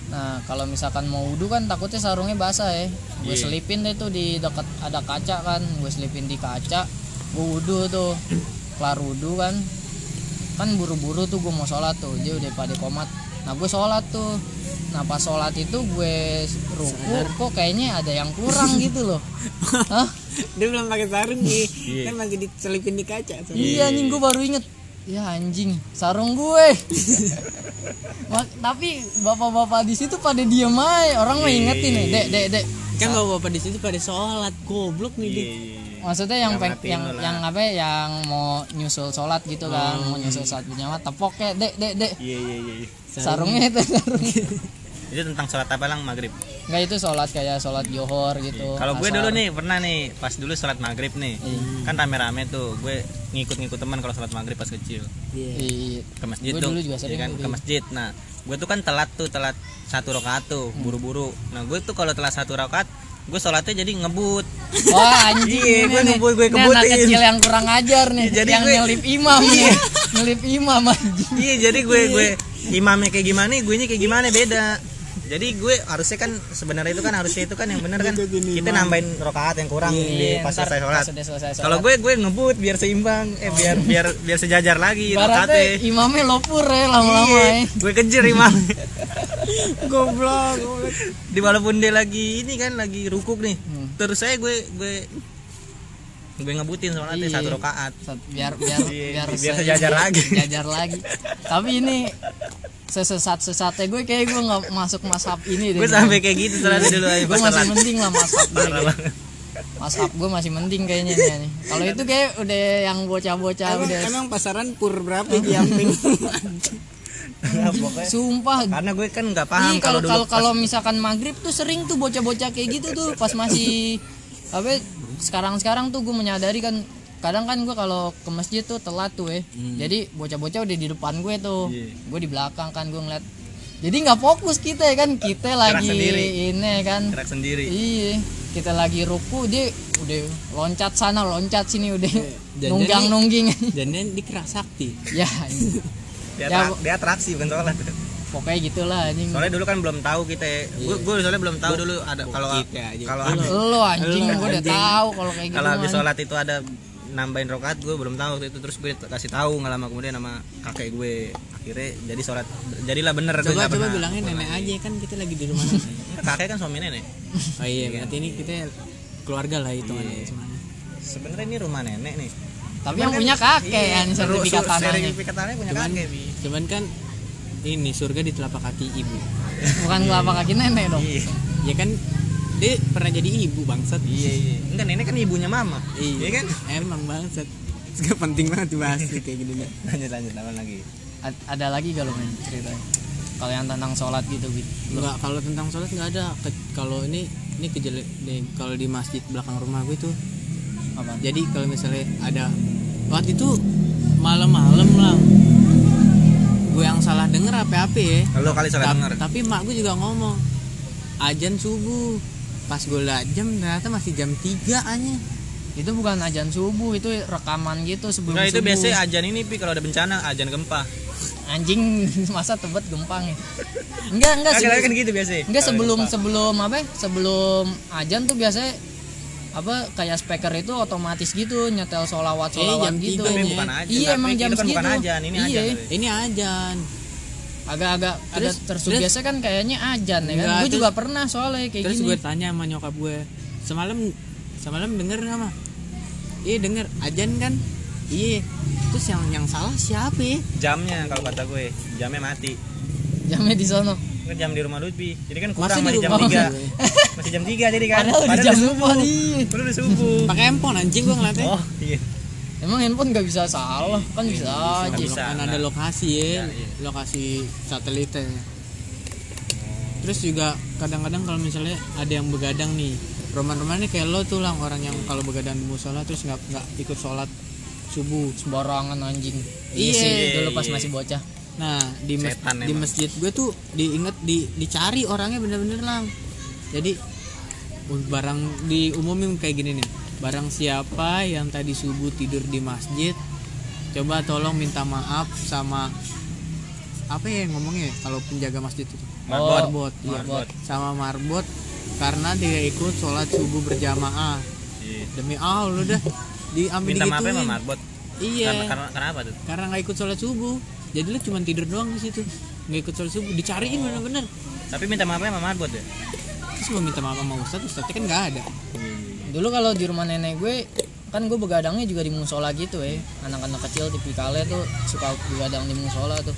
[SPEAKER 1] Nah, kalau misalkan mau wudhu kan takutnya sarungnya basah ya. Gue
[SPEAKER 2] Iya.
[SPEAKER 1] selipin deh tuh di dekat ada kaca kan, gue selipin di kaca. Gue wudhu tuh. Kelar wudhu kan. Kan buru-buru tuh gue mau sholat tuh. Dia udah pada komat. Nah, gue sholat tuh. Nah, pas sholat itu gue ruku kok kayaknya ada yang kurang gitu loh. Hah?
[SPEAKER 3] dia belum pakai sarung nih kan masih diselipin di kaca sorry.
[SPEAKER 1] Iya anjing gue baru inget Ya anjing, sarung gue. Ma- tapi bapak-bapak di situ pada diem aja. Orang mah ingetin nih, Dek, Dek, Dek.
[SPEAKER 3] kan bawa bapak di situ pada sholat goblok nih
[SPEAKER 2] Iya.
[SPEAKER 3] dik
[SPEAKER 1] maksudnya yang peng,
[SPEAKER 2] Ngamatin
[SPEAKER 1] yang
[SPEAKER 2] lu lah. Hmm.
[SPEAKER 1] yang apa ya, yang mau nyusul sholat gitu kan mau nyusul sholat berjamaah tepok ya dek dek dek
[SPEAKER 2] Iya, iya, iya, iya.
[SPEAKER 1] sarungnya itu sarungnya
[SPEAKER 2] Itu tentang sholat apa lang maghrib.
[SPEAKER 1] nggak itu sholat kayak sholat johor gitu
[SPEAKER 2] Iya. Kalau gue
[SPEAKER 1] asar. Iya.
[SPEAKER 2] dulu nih pernah nih pas dulu sholat maghrib nih kan rame-rame tuh gue ngikut-ngikut teman kalau sholat maghrib pas kecil
[SPEAKER 3] Iya.
[SPEAKER 1] Iya.
[SPEAKER 2] ke masjid
[SPEAKER 1] Gue
[SPEAKER 2] tuh
[SPEAKER 1] dulu juga
[SPEAKER 2] iya
[SPEAKER 1] sering
[SPEAKER 2] kan
[SPEAKER 1] tuh,
[SPEAKER 2] ke
[SPEAKER 1] iya.
[SPEAKER 2] masjid nah gue tuh kan telat tuh telat satu rakaat tuh
[SPEAKER 1] Hmm.
[SPEAKER 2] buru-buru nah gue tuh kalau telat satu rakaat gue sholatnya jadi ngebut
[SPEAKER 1] wah anjing
[SPEAKER 2] Iya,
[SPEAKER 1] ini
[SPEAKER 2] gue
[SPEAKER 1] nih.
[SPEAKER 2] ngebut, gue
[SPEAKER 1] Ini anak
[SPEAKER 2] kebutin. Iya,
[SPEAKER 1] kecil yang kurang ajar nih
[SPEAKER 2] Jadi
[SPEAKER 1] yang
[SPEAKER 2] gue-
[SPEAKER 1] nyelip imam nih nyelip imam anjing
[SPEAKER 2] Iya jadi gue gue imamnya kayak gimana, gue kayak gimana beda. Jadi gue harusnya kan sebenarnya itu kan harusnya itu kan yang bener kan kita nambahin rokaat yang kurang di Iya, pas
[SPEAKER 1] Iya, Ntar
[SPEAKER 2] selesai sholat.
[SPEAKER 1] pas udah selesai sholat
[SPEAKER 2] Kalau gue gue ngebut biar seimbang, eh biar biar biar sejajar lagi
[SPEAKER 1] Oh. Ibaratnya
[SPEAKER 2] rokaatnya.
[SPEAKER 1] imamnya lopur ya lama-lama
[SPEAKER 2] gitu, Iya,
[SPEAKER 1] ya
[SPEAKER 2] gue kejar imam.
[SPEAKER 3] goblok goblok
[SPEAKER 2] di walaupun dia lagi ini kan lagi rukuk nih,
[SPEAKER 1] Hmm.
[SPEAKER 2] terus saya gue gue gue ngebutin sholatnya
[SPEAKER 1] Iya.
[SPEAKER 2] satu rokaat.
[SPEAKER 1] Set, biar biar
[SPEAKER 2] Iya,
[SPEAKER 1] biar,
[SPEAKER 2] biar
[SPEAKER 1] se-
[SPEAKER 2] sejajar lagi.
[SPEAKER 1] sejajar lagi. tapi ini sesesat sesatnya gue kayak gue nggak masuk mashab ini deh
[SPEAKER 2] Gue sampai kayak gitu sholatnya dulu aja
[SPEAKER 1] gue iya.
[SPEAKER 2] pas
[SPEAKER 1] masih
[SPEAKER 2] sholat.
[SPEAKER 1] mending lah mashab gue
[SPEAKER 2] Parah banget.
[SPEAKER 1] mashab gue masih mending kayaknya nih, nih. kalau itu kayak udah yang bocah-bocah
[SPEAKER 3] emang,
[SPEAKER 1] Ya, udah
[SPEAKER 3] emang pasaran pur berapa di Amping
[SPEAKER 2] Pokoknya-
[SPEAKER 1] Iya. sumpah
[SPEAKER 2] Karena gue kan nggak
[SPEAKER 1] Ih,
[SPEAKER 2] paham kalau
[SPEAKER 1] Iya, kalau
[SPEAKER 2] dulu
[SPEAKER 1] kalau kalau misalkan maghrib tuh sering tuh bocah-bocah kayak gitu tuh pas masih apa sekarang-sekarang tuh gue menyadari kan kadang kan gue kalau ke masjid tuh telat tuh ya jadi bocah-bocah udah di depan gue tuh
[SPEAKER 2] Hmm. Iya.
[SPEAKER 1] gue di belakang kan gue ngeliat jadi nggak fokus kita ya kan kita lagi
[SPEAKER 2] sendiri.
[SPEAKER 1] ini ya kan
[SPEAKER 2] gerak sendiri.
[SPEAKER 1] iya kita lagi ruku dia udah loncat sana loncat sini udah
[SPEAKER 2] Iya.
[SPEAKER 3] dan
[SPEAKER 1] nunggang
[SPEAKER 3] jadi-
[SPEAKER 1] nungging
[SPEAKER 3] dan dia di keras sakti
[SPEAKER 1] ya
[SPEAKER 2] dia,
[SPEAKER 1] Ya, Hmm.
[SPEAKER 2] atra-
[SPEAKER 1] Bu.
[SPEAKER 2] dia atraksi bukan sholat
[SPEAKER 1] pokoknya gitulah anjing
[SPEAKER 2] soalnya dulu kan belum tahu kita ya. gue
[SPEAKER 1] Iya.
[SPEAKER 2] gue soalnya belum tahu dulu ada
[SPEAKER 1] ya,
[SPEAKER 2] kalau
[SPEAKER 3] kita aja.
[SPEAKER 2] kalau
[SPEAKER 3] Lu-
[SPEAKER 2] habis-
[SPEAKER 1] lo anjing
[SPEAKER 3] Lu,
[SPEAKER 1] gue udah
[SPEAKER 3] anjing.
[SPEAKER 1] tahu kalau kayak gitu
[SPEAKER 2] kalau habis
[SPEAKER 1] mah.
[SPEAKER 2] sholat itu ada nambahin rokat gue belum tahu waktu itu terus gue kasih tahu nggak lama kemudian sama kakek gue akhirnya jadi sholat jadilah bener gue
[SPEAKER 3] coba
[SPEAKER 2] nggak
[SPEAKER 3] coba
[SPEAKER 2] pernah.
[SPEAKER 3] bilangin nenek aja kan kita lagi di rumah nenek.
[SPEAKER 2] kakek kan suami nenek
[SPEAKER 3] oh iya berarti ini kita keluarga lah itu semuanya
[SPEAKER 2] sebenarnya ini rumah nenek nih
[SPEAKER 1] Tapi yang punya kakek yang sertifikat
[SPEAKER 2] iya, Seru-
[SPEAKER 1] tanahnya.
[SPEAKER 2] sertifikat tanahnya punya
[SPEAKER 3] Cuman-
[SPEAKER 2] kakek Bi.
[SPEAKER 3] cuman kan ini surga di telapak kaki ibu
[SPEAKER 1] Bukan kelapa kaki nenek dong.
[SPEAKER 2] iya
[SPEAKER 3] ya kan dia pernah jadi ibu bangsat
[SPEAKER 2] iya iya enggak nenek kan ibunya mama
[SPEAKER 3] Iya.
[SPEAKER 2] kan
[SPEAKER 3] emang bangsat gak penting banget dibahas nih kayak gini nih.
[SPEAKER 2] lanjut lanjut apa lagi
[SPEAKER 1] A- ada lagi gak lo main ceritanya? kalau yang tentang sholat gitu gitu
[SPEAKER 3] Enggak, kalau tentang sholat nggak ada. Ke- kalau ini ini kejele di- kalau di masjid belakang rumah gue tuh.
[SPEAKER 1] apa
[SPEAKER 3] Jadi kalau misalnya ada waktu itu malam-malam lah. Gue yang salah denger apa apa ya.
[SPEAKER 2] Kalau kali salah
[SPEAKER 3] Ta-
[SPEAKER 2] dengar.
[SPEAKER 3] Tapi mak gue juga ngomong ajan subuh. Pas gue liat jam ternyata masih jam 3 aja.
[SPEAKER 1] itu bukan ajan subuh itu rekaman gitu sebelum
[SPEAKER 2] Enggak Nah, itu
[SPEAKER 1] subuh.
[SPEAKER 2] biasanya ajan ini pi kalau ada bencana ajan gempa.
[SPEAKER 1] anjing masa tebet gempang ya enggak enggak sih
[SPEAKER 2] Akhirnya kan gitu biasanya.
[SPEAKER 1] enggak
[SPEAKER 2] Kalau
[SPEAKER 1] sebelum
[SPEAKER 2] gempa.
[SPEAKER 1] sebelum apa ya? sebelum ajan tuh biasanya apa kayak speaker itu otomatis gitu nyetel solawat
[SPEAKER 3] Eh,
[SPEAKER 1] solawat
[SPEAKER 3] jam
[SPEAKER 1] gitu
[SPEAKER 3] tiga
[SPEAKER 2] Iya, tapi
[SPEAKER 3] nih.
[SPEAKER 2] bukan ajan.
[SPEAKER 1] Iya,
[SPEAKER 2] Tapi
[SPEAKER 1] emang
[SPEAKER 2] itu
[SPEAKER 1] jam
[SPEAKER 2] kan bukan
[SPEAKER 1] segitu.
[SPEAKER 2] ajan, ini
[SPEAKER 1] Iya.
[SPEAKER 2] ajan.
[SPEAKER 3] Ini ajan.
[SPEAKER 1] agak-agak ada
[SPEAKER 3] Terus-
[SPEAKER 1] terus
[SPEAKER 3] terus-
[SPEAKER 1] biasa kan kayaknya ajan ya kan
[SPEAKER 3] Enggak,
[SPEAKER 1] gue
[SPEAKER 3] terus-
[SPEAKER 1] juga pernah soalnya kayak
[SPEAKER 3] Terus
[SPEAKER 1] gini
[SPEAKER 3] gue tanya sama nyokap gue semalam semalam denger nggak mah? Iya denger ajan kan? Iya. Terus yang yang salah siapa? ya?
[SPEAKER 2] Jamnya kalau kata gue, jamnya mati.
[SPEAKER 1] jamnya di sono
[SPEAKER 2] Kan jam di rumah Lutfi. Jadi kan
[SPEAKER 3] Masih
[SPEAKER 2] kurang
[SPEAKER 3] di
[SPEAKER 2] masih jam
[SPEAKER 3] rumah
[SPEAKER 2] 3. Masih jam 3 jadi kan.
[SPEAKER 1] padahal udah jam subuh nih
[SPEAKER 2] Padahal udah subuh.
[SPEAKER 3] Pakai handphone anjing gue ngeliatnya.
[SPEAKER 2] Oh, iya.
[SPEAKER 1] emang handphone gak bisa salah kan bisa aja
[SPEAKER 2] bisa.
[SPEAKER 3] Kan
[SPEAKER 2] nah.
[SPEAKER 3] ada lokasi ya,
[SPEAKER 2] Ya, iya.
[SPEAKER 3] lokasi satelitnya. Terus juga kadang-kadang kalau misalnya ada yang begadang nih, roman-roman ini kayak lo tuh lah orang yang kalau begadang di musola terus nggak nggak ikut sholat subuh.
[SPEAKER 1] sembarangan anjing
[SPEAKER 3] Iya.
[SPEAKER 1] sih dulu pas
[SPEAKER 2] Iya.
[SPEAKER 1] masih bocah
[SPEAKER 3] Nah di mas-
[SPEAKER 2] Setan
[SPEAKER 3] di
[SPEAKER 2] emang.
[SPEAKER 3] masjid gue tuh diinget di dicari orangnya bener-bener lang. Jadi uh, barang diumumin kayak gini nih, barang siapa yang tadi subuh tidur di masjid, coba tolong minta maaf sama apa ya ngomongnya ya, kalau penjaga masjid itu
[SPEAKER 2] Marbot.
[SPEAKER 3] marbot,
[SPEAKER 2] Oh,
[SPEAKER 3] iya.
[SPEAKER 2] Marbot.
[SPEAKER 3] sama marbot karena tidak ikut sholat subuh berjamaah
[SPEAKER 2] Iya.
[SPEAKER 3] demi allah udah diambil
[SPEAKER 2] Minta maaf ya, sama
[SPEAKER 3] digituin.
[SPEAKER 2] Marbot.
[SPEAKER 3] iya
[SPEAKER 2] Karena, karena kenapa tuh?
[SPEAKER 3] karena nggak ikut sholat subuh jadi lu cuma tidur doang di situ nggak ikut sholat subuh dicariin bener-bener
[SPEAKER 2] Tapi minta maaf sama Marbot ya.
[SPEAKER 3] terus mau minta maaf sama ustad ustadnya kan nggak ada
[SPEAKER 1] dulu kalau di rumah nenek gue kan gue begadangnya juga di musola gitu ya anak-anak kecil tipikalnya tuh suka begadang di musola tuh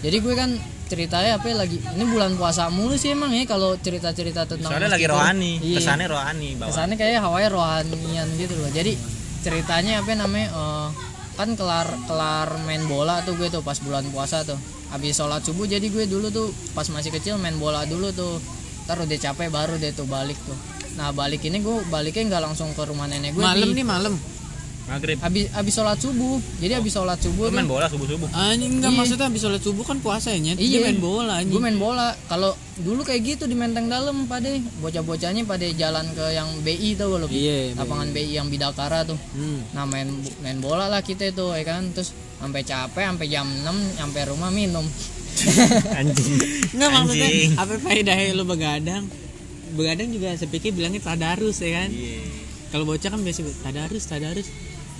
[SPEAKER 1] jadi gue kan ceritanya apa ya, lagi ini bulan puasa mulu sih emang ya kalau cerita-cerita tentang
[SPEAKER 2] Soalnya lagi
[SPEAKER 1] masjid tuh.
[SPEAKER 2] rohani,
[SPEAKER 1] Iya.
[SPEAKER 2] kesannya rohani bawah.
[SPEAKER 1] kesannya kayak hawanya rohanian gitu loh jadi ceritanya apa namanya eh, kan kelar kelar main bola tuh gue tuh pas bulan puasa tuh habis sholat subuh jadi gue dulu tuh pas masih kecil main bola dulu tuh taruh dia capek baru dia tuh balik tuh nah balik ini gue baliknya nggak langsung ke rumah nenek gue
[SPEAKER 3] malam
[SPEAKER 1] di-
[SPEAKER 3] nih malam
[SPEAKER 2] Maghrib.
[SPEAKER 1] habis habis sholat subuh jadi habis sholat subuh
[SPEAKER 2] Lu
[SPEAKER 1] tuh
[SPEAKER 2] main bola subuh-subuh.
[SPEAKER 3] anjing nggak
[SPEAKER 1] Iya.
[SPEAKER 3] maksudnya habis sholat subuh kan puasa ya Nyet. dia
[SPEAKER 1] Iya.
[SPEAKER 3] main bola anjing
[SPEAKER 1] gue main bola kalau dulu kayak gitu di menteng dalam pade bocah-bocahnya pada jalan ke yang BI tuh loh
[SPEAKER 3] Iya,
[SPEAKER 1] lapangan BI yang bidakara tuh
[SPEAKER 3] Hmm.
[SPEAKER 1] nah main main bola lah kita itu ya kan terus sampai capek sampai jam 6 sampai rumah minum
[SPEAKER 2] Anjing.
[SPEAKER 3] Nggak maksudnya
[SPEAKER 2] Anjing.
[SPEAKER 3] apa faedahnya lu begadang? Begadang juga sepikir bilangnya tadarus ya
[SPEAKER 1] Iya.
[SPEAKER 3] kan. Kalau bocah kan biasa tadarus, tadarus.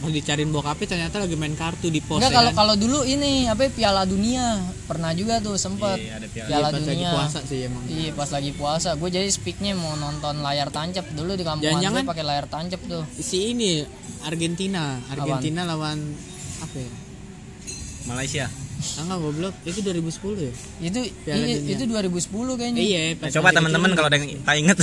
[SPEAKER 3] Mau dicariin bokapnya ternyata lagi main kartu di pos.
[SPEAKER 1] enggak
[SPEAKER 3] ya
[SPEAKER 1] kalau
[SPEAKER 3] kan?
[SPEAKER 1] kalau dulu ini apa ya, Piala Dunia pernah juga tuh sempet
[SPEAKER 2] Iya, ada piala.
[SPEAKER 1] Piala
[SPEAKER 3] Pas lagi
[SPEAKER 1] Dunia
[SPEAKER 3] puasa sih emang.
[SPEAKER 1] Iya pas lagi puasa, gue jadi speaknya mau nonton layar tancap dulu di kampungan
[SPEAKER 3] Jangan-jangan-
[SPEAKER 1] gue pakai layar tancap tuh.
[SPEAKER 3] Si ini Argentina, Argentina lawan apa ya?
[SPEAKER 2] Malaysia.
[SPEAKER 3] Ah, Enggak goblok, itu 2010 ya?
[SPEAKER 1] Itu
[SPEAKER 3] Piala
[SPEAKER 1] iya,
[SPEAKER 3] Dunia.
[SPEAKER 1] itu 2010 kayaknya.
[SPEAKER 3] Eh, iya, pas
[SPEAKER 2] Nah, coba
[SPEAKER 3] masih
[SPEAKER 2] teman-teman
[SPEAKER 3] kecil.
[SPEAKER 2] kalau ada yang tak inget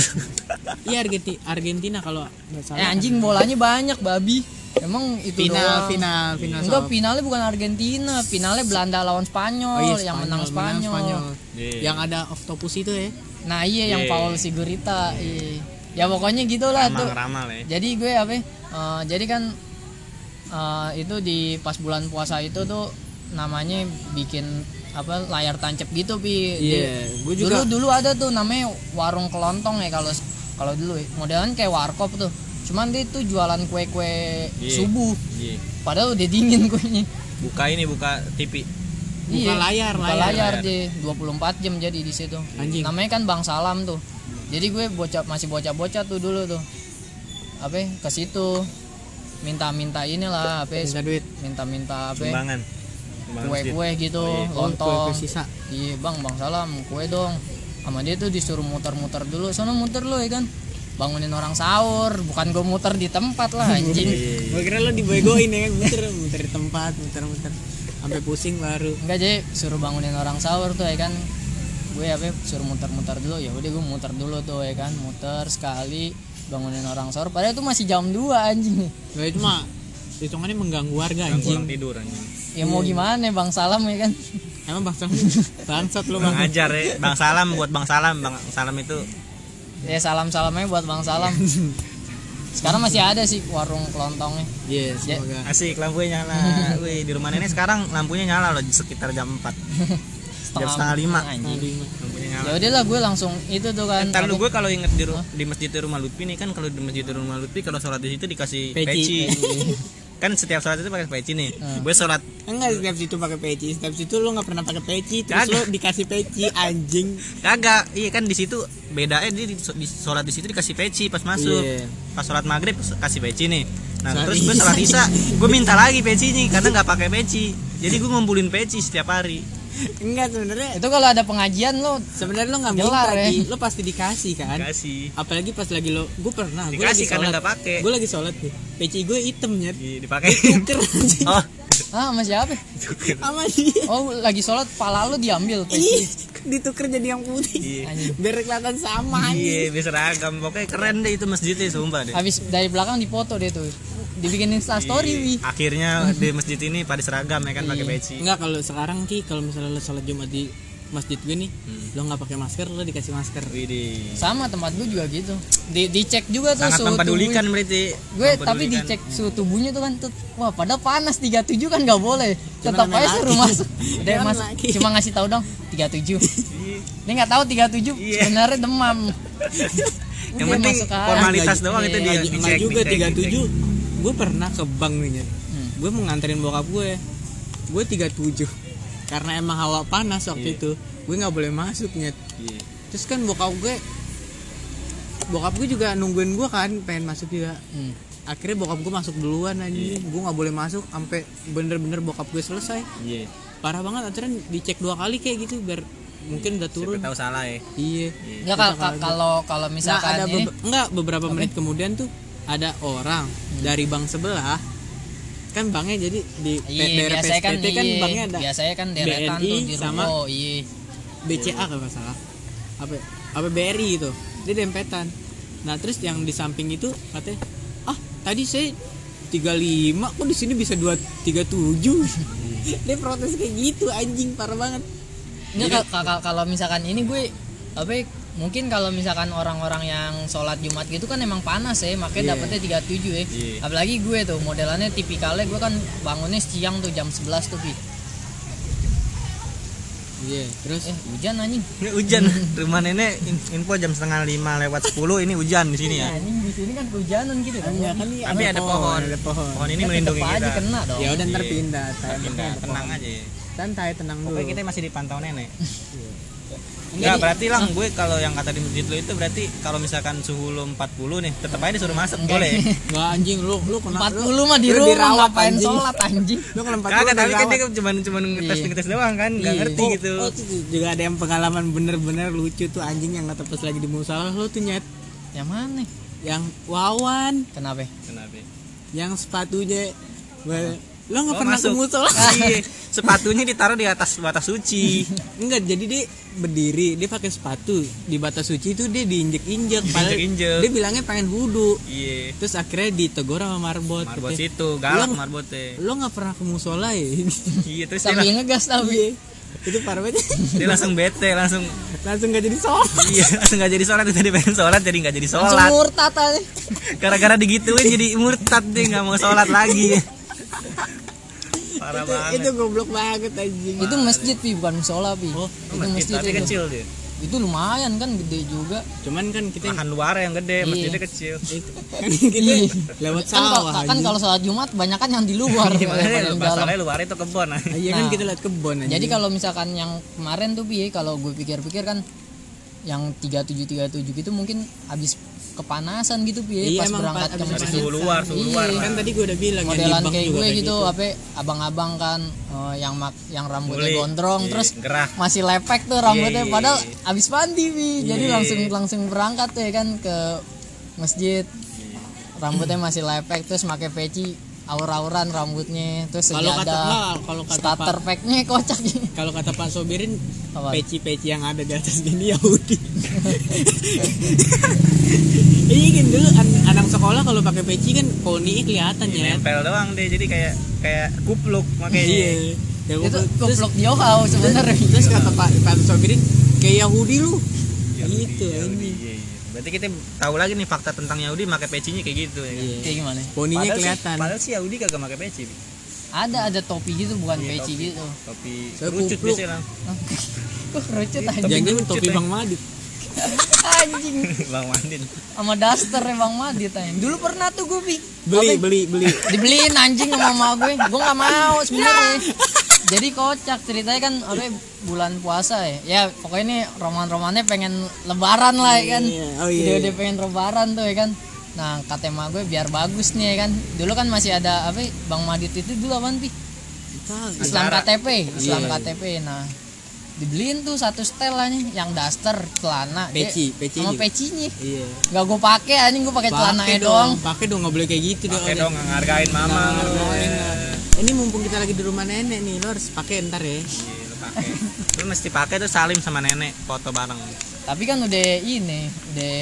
[SPEAKER 3] Iya Argentina, Argentina kalau nggak salah.
[SPEAKER 1] Eh anjing bolanya banyak babi. Emang itu doang.
[SPEAKER 3] final, final, final.
[SPEAKER 1] Enggak
[SPEAKER 3] sama-
[SPEAKER 1] finalnya bukan Argentina, finalnya Belanda lawan Spanyol,
[SPEAKER 3] Oh iya,
[SPEAKER 1] yang menang Spanyol.
[SPEAKER 3] menang Spanyol.
[SPEAKER 2] Iya.
[SPEAKER 3] Yang ada octopus itu ya.
[SPEAKER 1] Nah iya yang
[SPEAKER 2] Iya.
[SPEAKER 1] Paul Sigurita. Iya. Ya pokoknya gitulah tuh.
[SPEAKER 2] ramal-ramal ya.
[SPEAKER 1] Jadi gue apa? ya, eh, jadi kan eh, itu di pas bulan puasa itu tuh namanya bikin apa layar tancap gitu pi. Di-
[SPEAKER 3] Iya, gue juga.
[SPEAKER 1] Dulu dulu ada tuh namanya warung kelontong ya kalau kalau dulu ya. modelan kayak warkop tuh. Cuman dia tuh jualan kue-kue
[SPEAKER 2] Iya.
[SPEAKER 1] subuh.
[SPEAKER 2] Iya.
[SPEAKER 1] Padahal udah dingin kuenya.
[SPEAKER 2] Buka ini buka TV.
[SPEAKER 3] Buka layar,
[SPEAKER 1] Iya. buka layar,
[SPEAKER 3] layar.
[SPEAKER 1] deh 24 jam jadi di situ.
[SPEAKER 3] Anjing.
[SPEAKER 1] Namanya kan Bang Salam tuh. Jadi gue bocah masih bocah-bocah tuh dulu tuh. Apa ya, ke situ minta-minta inilah apa
[SPEAKER 3] Minta
[SPEAKER 1] ya,
[SPEAKER 3] duit.
[SPEAKER 1] minta-minta apa ya,
[SPEAKER 2] Sumbangan. Sumbangan masjid.
[SPEAKER 1] kue-kue gitu,
[SPEAKER 3] Oh,
[SPEAKER 1] lontong.
[SPEAKER 3] kue-kue sisa.
[SPEAKER 1] Iya, Bang, Bang Salam, kue dong. Sama dia tuh disuruh muter-muter dulu. Sono muter lo ya kan. Bangunin orang sahur, bukan gue muter di tempat lah anjing.
[SPEAKER 2] Iya,
[SPEAKER 3] Gue kira lo dibegoin ya kan muter muter di tempat muter muter sampai pusing baru.
[SPEAKER 1] enggak jadi suruh bangunin orang sahur tuh ya kan gue apa ya, suruh muter-muter dulu ya udah gue muter dulu tuh ya kan muter sekali bangunin orang sahur padahal itu masih jam 2 anjing
[SPEAKER 3] Nah itu mah hitungannya mengganggu warga
[SPEAKER 2] Ganggu orang
[SPEAKER 3] anjing.
[SPEAKER 2] tidur anjing.
[SPEAKER 1] ya mau gimana bang salam ya kan
[SPEAKER 3] Emang bangsat bangsat lu
[SPEAKER 2] Bang
[SPEAKER 3] bang.
[SPEAKER 2] Ajar ya. Bang Salam buat Bang Salam, Bang Salam itu
[SPEAKER 1] ya salam salamnya buat bang salam sekarang masih ada sih warung kelontongnya
[SPEAKER 3] Iya, semoga.
[SPEAKER 2] asik lampunya nyala. Wih, di rumah nenek sekarang lampunya nyala loh sekitar jam 4. Jam setengah lima.
[SPEAKER 1] anjing
[SPEAKER 3] Aduh,
[SPEAKER 2] Lampunya nyala.
[SPEAKER 1] ya udahlah gue langsung itu tuh kan
[SPEAKER 2] Ntar lu
[SPEAKER 1] apa-
[SPEAKER 2] gue kalau inget di, ru- di masjid di rumah Lutfi nih kan kalau di masjid di rumah Lutfi kalau sholat di situ dikasih
[SPEAKER 3] Peci.
[SPEAKER 2] peci. kan setiap sholat itu pakai peci nih. Gue sholat
[SPEAKER 3] Enggak setiap situ pakai peci, setiap situ lu nggak pernah pakai peci, terus
[SPEAKER 2] Kagak.
[SPEAKER 3] lu dikasih peci anjing.
[SPEAKER 2] kagak. Iya kan di situ bedanya dia di, di sholat di situ dikasih peci pas masuk.
[SPEAKER 3] Iya.
[SPEAKER 2] Pas sholat maghrib kasih peci nih. Nah
[SPEAKER 3] Sholat
[SPEAKER 2] terus gue
[SPEAKER 3] Isya.
[SPEAKER 2] sholat isya gue minta lagi peci nih karena nggak pakai peci. Jadi gue ngumpulin peci setiap hari.
[SPEAKER 3] Enggak sebenarnya
[SPEAKER 1] itu kalau ada pengajian lo
[SPEAKER 3] sebenarnya lu nggak minta
[SPEAKER 1] Gelar, ya.
[SPEAKER 3] Ki. lu pasti dikasih kan.
[SPEAKER 2] Kasih.
[SPEAKER 3] Apalagi pas lagi lo, gue pernah, gue
[SPEAKER 2] Dikasih
[SPEAKER 3] lagi
[SPEAKER 2] karena
[SPEAKER 3] sholat,
[SPEAKER 2] nggak pakai.
[SPEAKER 3] gue lagi sholat nih, peci gue item nyet,
[SPEAKER 2] Dipakai.
[SPEAKER 3] tuker anjing
[SPEAKER 2] oh.
[SPEAKER 1] ah sama siapa
[SPEAKER 3] sama dia,
[SPEAKER 1] oh lagi sholat pala lo diambil
[SPEAKER 3] Ih,
[SPEAKER 1] peci
[SPEAKER 3] dituker jadi yang putih,
[SPEAKER 2] Iya.
[SPEAKER 1] anjing
[SPEAKER 3] biar kelihatan sama
[SPEAKER 2] Iya,
[SPEAKER 3] anjing.
[SPEAKER 2] berseragam. Pokoknya keren deh itu masjidnya sumpah deh.
[SPEAKER 1] habis dari belakang dipoto deh tuh dibikin insta story
[SPEAKER 2] Iya.
[SPEAKER 1] wi Iya.
[SPEAKER 2] Akhirnya di masjid ini pada seragam ya kan pakai peci.
[SPEAKER 3] Enggak kalau sekarang ki kalau misalnya lo sholat Jumat di masjid gue nih,
[SPEAKER 2] Hmm.
[SPEAKER 3] lo nggak pakai masker lo dikasih masker.
[SPEAKER 2] Widih.
[SPEAKER 1] sama tempat gue juga gitu di dicek juga tuh
[SPEAKER 2] Sangat
[SPEAKER 1] suhu
[SPEAKER 2] mempedulikan
[SPEAKER 1] tubuhnya.
[SPEAKER 2] berarti.
[SPEAKER 1] gue
[SPEAKER 2] Mempedulikan. Hmm.
[SPEAKER 1] tapi dicek suhu tubuhnya tuh kan tuh, wah padahal panas 37 kan nggak boleh tetap
[SPEAKER 3] namanya
[SPEAKER 1] aja suruh
[SPEAKER 3] laki.
[SPEAKER 1] masuk deh
[SPEAKER 3] Cuman
[SPEAKER 1] mas
[SPEAKER 3] laki.
[SPEAKER 1] cuma ngasih tahu dong 37
[SPEAKER 2] Iya.
[SPEAKER 1] ini nggak tahu 37
[SPEAKER 2] Iya.
[SPEAKER 1] sebenarnya demam
[SPEAKER 2] Yang
[SPEAKER 1] Udah,
[SPEAKER 2] penting
[SPEAKER 1] masuk aja.
[SPEAKER 2] formalitas
[SPEAKER 3] Nggak-
[SPEAKER 2] doang
[SPEAKER 1] iya,
[SPEAKER 2] itu dia
[SPEAKER 3] Nggak nggak
[SPEAKER 2] dicek.
[SPEAKER 3] juga
[SPEAKER 2] dicek,
[SPEAKER 3] tiga
[SPEAKER 2] dicek.
[SPEAKER 3] tujuh, gue pernah ke bank nih Nyet.
[SPEAKER 1] Hmm,
[SPEAKER 3] gue mau nganterin bokap gue, gue 37 karena emang hawa panas waktu
[SPEAKER 2] Iya.
[SPEAKER 3] itu, gue nggak boleh masuk nyet.
[SPEAKER 2] Iya.
[SPEAKER 3] Terus kan bokap gue, bokap gue juga nungguin gue kan pengen masuk juga.
[SPEAKER 1] Hmm.
[SPEAKER 3] Akhirnya bokap gue masuk duluan anjing, gue nggak boleh masuk sampai bener-bener bokap gue selesai.
[SPEAKER 2] Iya.
[SPEAKER 3] Parah banget akhirnya dicek dua kali kayak gitu biar mungkin udah
[SPEAKER 2] Siapa
[SPEAKER 3] turun.
[SPEAKER 2] tahu salah ya.
[SPEAKER 3] Iya.
[SPEAKER 1] nggak kal- kal- kalau kalau
[SPEAKER 3] Nah,
[SPEAKER 1] misalkan
[SPEAKER 3] ada
[SPEAKER 1] ini
[SPEAKER 3] bebe- enggak beberapa menit kemudian tuh ada orang
[SPEAKER 1] Hmm.
[SPEAKER 3] dari bank sebelah kan banknya jadi di
[SPEAKER 1] iya
[SPEAKER 3] P- daerah
[SPEAKER 1] biasanya kan
[SPEAKER 3] PSPT kan
[SPEAKER 1] iya,
[SPEAKER 3] banknya ada
[SPEAKER 1] biasanya kan deretan
[SPEAKER 3] BNI
[SPEAKER 1] tuh di
[SPEAKER 3] sama
[SPEAKER 1] ruko iya
[SPEAKER 3] BCA kalau nggak salah apa ya? apa BRI gitu dia dempetan nah terus yang di samping itu katanya ah tadi saya 35 kok di sini bisa
[SPEAKER 1] Iya.
[SPEAKER 3] 237 dia protes kayak gitu anjing parah banget
[SPEAKER 1] Nggak, kal- kal- kalau misalkan ini gue apa ya, mungkin kalau misalkan orang-orang yang sholat Jumat gitu kan emang panas ya makanya dapetnya 37 ya
[SPEAKER 2] Iya.
[SPEAKER 1] apalagi gue tuh modelannya tipikalnya gue kan bangunnya siang tuh jam 11 tuh Pi.
[SPEAKER 3] iya terus
[SPEAKER 1] eh hujan anjing
[SPEAKER 2] Ini hujan. Rumah nenek in- info jam setengah lima lewat sepuluh ini hujan di sini ya.
[SPEAKER 1] anjing di sini kan kehujanan gitu kan
[SPEAKER 3] enggak kan nih
[SPEAKER 2] Tapi ada pohon.
[SPEAKER 3] ada pohon
[SPEAKER 2] Pohon ini
[SPEAKER 1] Kan
[SPEAKER 2] melindungi
[SPEAKER 1] tetep aja
[SPEAKER 2] kita.
[SPEAKER 1] kena dong
[SPEAKER 3] ya udah ntar
[SPEAKER 2] Iya.
[SPEAKER 3] pindah sayang.
[SPEAKER 2] Pindah, tenang aja. ya.
[SPEAKER 3] santai tenang dulu
[SPEAKER 2] Pokoknya kita masih dipantau nenek. Enggak, berarti lang gue kalau yang kata di masjid lo itu berarti kalau misalkan suhu lo 40 nih, tetap aja disuruh masuk, boleh.
[SPEAKER 3] Enggak anjing lu lu kenapa
[SPEAKER 1] 40 mah di rumah ngapain sholat anjing
[SPEAKER 3] Lu kalau 40
[SPEAKER 2] Kagak, tapi kan
[SPEAKER 3] dirawat.
[SPEAKER 2] dia cuma cuma ngetes-ngetes doang kan, enggak
[SPEAKER 3] Iya.
[SPEAKER 2] ngerti
[SPEAKER 3] Oh,
[SPEAKER 2] gitu.
[SPEAKER 3] oh, tuh juga ada yang pengalaman bener-bener lucu tuh anjing yang kata pas lagi di musola lu tuh nyet
[SPEAKER 1] yang Ya mana
[SPEAKER 3] yang wawan
[SPEAKER 1] kenapa
[SPEAKER 2] Kenapa?
[SPEAKER 3] yang sepatunya well, lu nggak
[SPEAKER 2] Oh,
[SPEAKER 3] pernah
[SPEAKER 2] masuk.
[SPEAKER 3] ke musola
[SPEAKER 2] Iya, sepatunya ditaruh di atas batas suci.
[SPEAKER 3] Enggak, jadi dia berdiri, dia pakai sepatu di batas suci itu dia diinjek-injek. padahal
[SPEAKER 2] Diinjek-injek.
[SPEAKER 3] Dia bilangnya pengen wudhu.
[SPEAKER 2] Iya.
[SPEAKER 3] Terus akhirnya ditegur sama marbot.
[SPEAKER 2] Marbot
[SPEAKER 3] katanya,
[SPEAKER 2] situ, galak
[SPEAKER 3] Lang.
[SPEAKER 2] marbotnya.
[SPEAKER 3] Lu nggak pernah ke musola ya?
[SPEAKER 2] Iya, terus dia,
[SPEAKER 1] sambil
[SPEAKER 2] lang-
[SPEAKER 1] ngegas tapi
[SPEAKER 3] Iya. itu parah banget.
[SPEAKER 2] dia langsung bete, langsung
[SPEAKER 3] Langsung gak jadi sholat.
[SPEAKER 2] iya, langsung gak jadi sholat, tadi pengen sholat jadi gak jadi
[SPEAKER 1] langsung
[SPEAKER 2] sholat.
[SPEAKER 1] murtad aja
[SPEAKER 2] Gara-gara digituin jadi murtad dia nggak mau sholat lagi. Parah
[SPEAKER 1] Iya,
[SPEAKER 2] banget.
[SPEAKER 3] itu goblok banget anjing.
[SPEAKER 1] itu masjid pi bukan musola pi itu
[SPEAKER 2] masjid,
[SPEAKER 1] masjid
[SPEAKER 2] tapi
[SPEAKER 1] itu.
[SPEAKER 2] kecil dia.
[SPEAKER 1] itu lumayan kan gede juga
[SPEAKER 3] Cuman kan kita
[SPEAKER 2] Lahan luar yang gede, masjidnya kecil.
[SPEAKER 3] kan kita
[SPEAKER 1] Iya.
[SPEAKER 3] lewat
[SPEAKER 1] kan kalau
[SPEAKER 3] sawah.
[SPEAKER 1] kan
[SPEAKER 3] anjing.
[SPEAKER 1] kalau sholat Jumat banyak kan yang di luar daripada
[SPEAKER 2] Makanya
[SPEAKER 1] yang dalam.
[SPEAKER 2] masalahnya luar itu kebon. ah.
[SPEAKER 3] Iya kan
[SPEAKER 1] Nah.
[SPEAKER 3] kita lihat kebon anjing.
[SPEAKER 1] Jadi kalau misalkan yang kemarin tuh piye kalau gue pikir-pikir kan yang 3737 gitu mungkin habis kepanasan gitu piye pas
[SPEAKER 3] Iya, emang
[SPEAKER 1] berangkat
[SPEAKER 3] pa-
[SPEAKER 1] ke
[SPEAKER 3] abis
[SPEAKER 2] Dari
[SPEAKER 1] masjid.
[SPEAKER 2] suhu luar, suhu
[SPEAKER 1] Iya.
[SPEAKER 2] luar. lah.
[SPEAKER 3] kan tadi gue udah bilang yang di
[SPEAKER 1] Modelan
[SPEAKER 3] bank
[SPEAKER 1] kayak
[SPEAKER 3] juga
[SPEAKER 1] gue
[SPEAKER 3] kayak
[SPEAKER 1] gitu, apa abang-abang kan eh, yang mak yang rambutnya
[SPEAKER 2] Boleh.
[SPEAKER 1] gondrong
[SPEAKER 2] Iya,
[SPEAKER 1] terus
[SPEAKER 2] gerah.
[SPEAKER 1] masih lepek tuh rambutnya
[SPEAKER 2] Iya, iya,
[SPEAKER 1] padahal
[SPEAKER 2] iya.
[SPEAKER 1] habis mandi Pi. Jadi
[SPEAKER 2] Iya.
[SPEAKER 1] langsung langsung berangkat tuh ya kan ke masjid. Rambutnya masih lepek terus pakai peci aur-auran rambutnya terus
[SPEAKER 3] Kalau kata
[SPEAKER 1] sejadah
[SPEAKER 3] nggak, kalau kata
[SPEAKER 1] starter
[SPEAKER 3] Pak-
[SPEAKER 1] packnya kocak
[SPEAKER 3] kalau kata Pak Sobirin
[SPEAKER 1] Apa?
[SPEAKER 3] peci-peci yang ada di atas gini ya, Yahudi iya kan dulu an- anak sekolah kalau pakai peci kan koni
[SPEAKER 1] Iya,
[SPEAKER 3] kelihatan ya
[SPEAKER 2] nempel doang deh jadi kayak kayak kupluk makanya Gitu.
[SPEAKER 3] iya Ya,
[SPEAKER 1] itu
[SPEAKER 3] pokok- terus-
[SPEAKER 1] goblok Johau sebenarnya
[SPEAKER 3] terus kata Pak Pak Sobirin kayak Yahudi lu gitu ini
[SPEAKER 2] Iya, iya. berarti kita tahu lagi nih fakta tentang Yahudi pakai pecinya kayak gitu ya kan?
[SPEAKER 3] Iya.
[SPEAKER 1] kayak gimana
[SPEAKER 3] koninya
[SPEAKER 2] Padahal sih-
[SPEAKER 3] kelihatan
[SPEAKER 2] padahal si Yahudi kagak pakai peci Bi.
[SPEAKER 1] ada ada topi gitu bukan
[SPEAKER 2] Iya,
[SPEAKER 1] peci
[SPEAKER 2] topi.
[SPEAKER 1] gitu
[SPEAKER 2] topi
[SPEAKER 3] Saya
[SPEAKER 2] kerucut
[SPEAKER 3] kupluk.
[SPEAKER 2] biasanya Bang.
[SPEAKER 1] Kok kerucut aja
[SPEAKER 3] jangan
[SPEAKER 2] lucu,
[SPEAKER 3] topi
[SPEAKER 2] Teh.
[SPEAKER 3] Bang Madit
[SPEAKER 1] anjing
[SPEAKER 2] bang Mandin
[SPEAKER 1] sama daster emang Madit aja dulu pernah tuh gue bi-
[SPEAKER 3] beli
[SPEAKER 1] apa,
[SPEAKER 3] beli beli
[SPEAKER 1] dibeliin anjing sama mama gue gue nggak mau
[SPEAKER 3] Nah.
[SPEAKER 1] sebenarnya jadi kocak ceritanya kan apa ya, bulan puasa ya ya pokoknya ini roman-romannya pengen lebaran lah ya kan
[SPEAKER 3] Iya, oh iya,
[SPEAKER 1] Dia udah
[SPEAKER 3] iya.
[SPEAKER 1] pengen lebaran tuh ya kan nah kata emak gue biar bagus nih ya kan dulu kan masih ada apa ya, bang Madit itu dulu apaan pi Islam
[SPEAKER 2] Asmara.
[SPEAKER 1] KTP, Islam
[SPEAKER 3] Iya.
[SPEAKER 1] KTP. Nah, dibeliin tuh satu setel anjing yang daster, celana, dia-
[SPEAKER 3] Peci, peci
[SPEAKER 1] sama
[SPEAKER 3] juga.
[SPEAKER 1] pecinya.
[SPEAKER 3] Iya.
[SPEAKER 1] Gak gue pakai anjing gue pakai celana
[SPEAKER 3] Pakai
[SPEAKER 1] doang.
[SPEAKER 3] dong, pakai dong nggak boleh kayak gitu
[SPEAKER 2] pakai dong
[SPEAKER 3] dong.
[SPEAKER 2] ngehargain mama
[SPEAKER 3] Nah,
[SPEAKER 2] lu
[SPEAKER 3] hargain
[SPEAKER 2] Iya,
[SPEAKER 3] lah. Ini mumpung kita lagi di rumah nenek nih, lo harus pakai ntar ya.
[SPEAKER 2] lu pakai lu Iya, mesti pakai tuh salim sama nenek foto bareng
[SPEAKER 1] Tapi kan udah ini, udah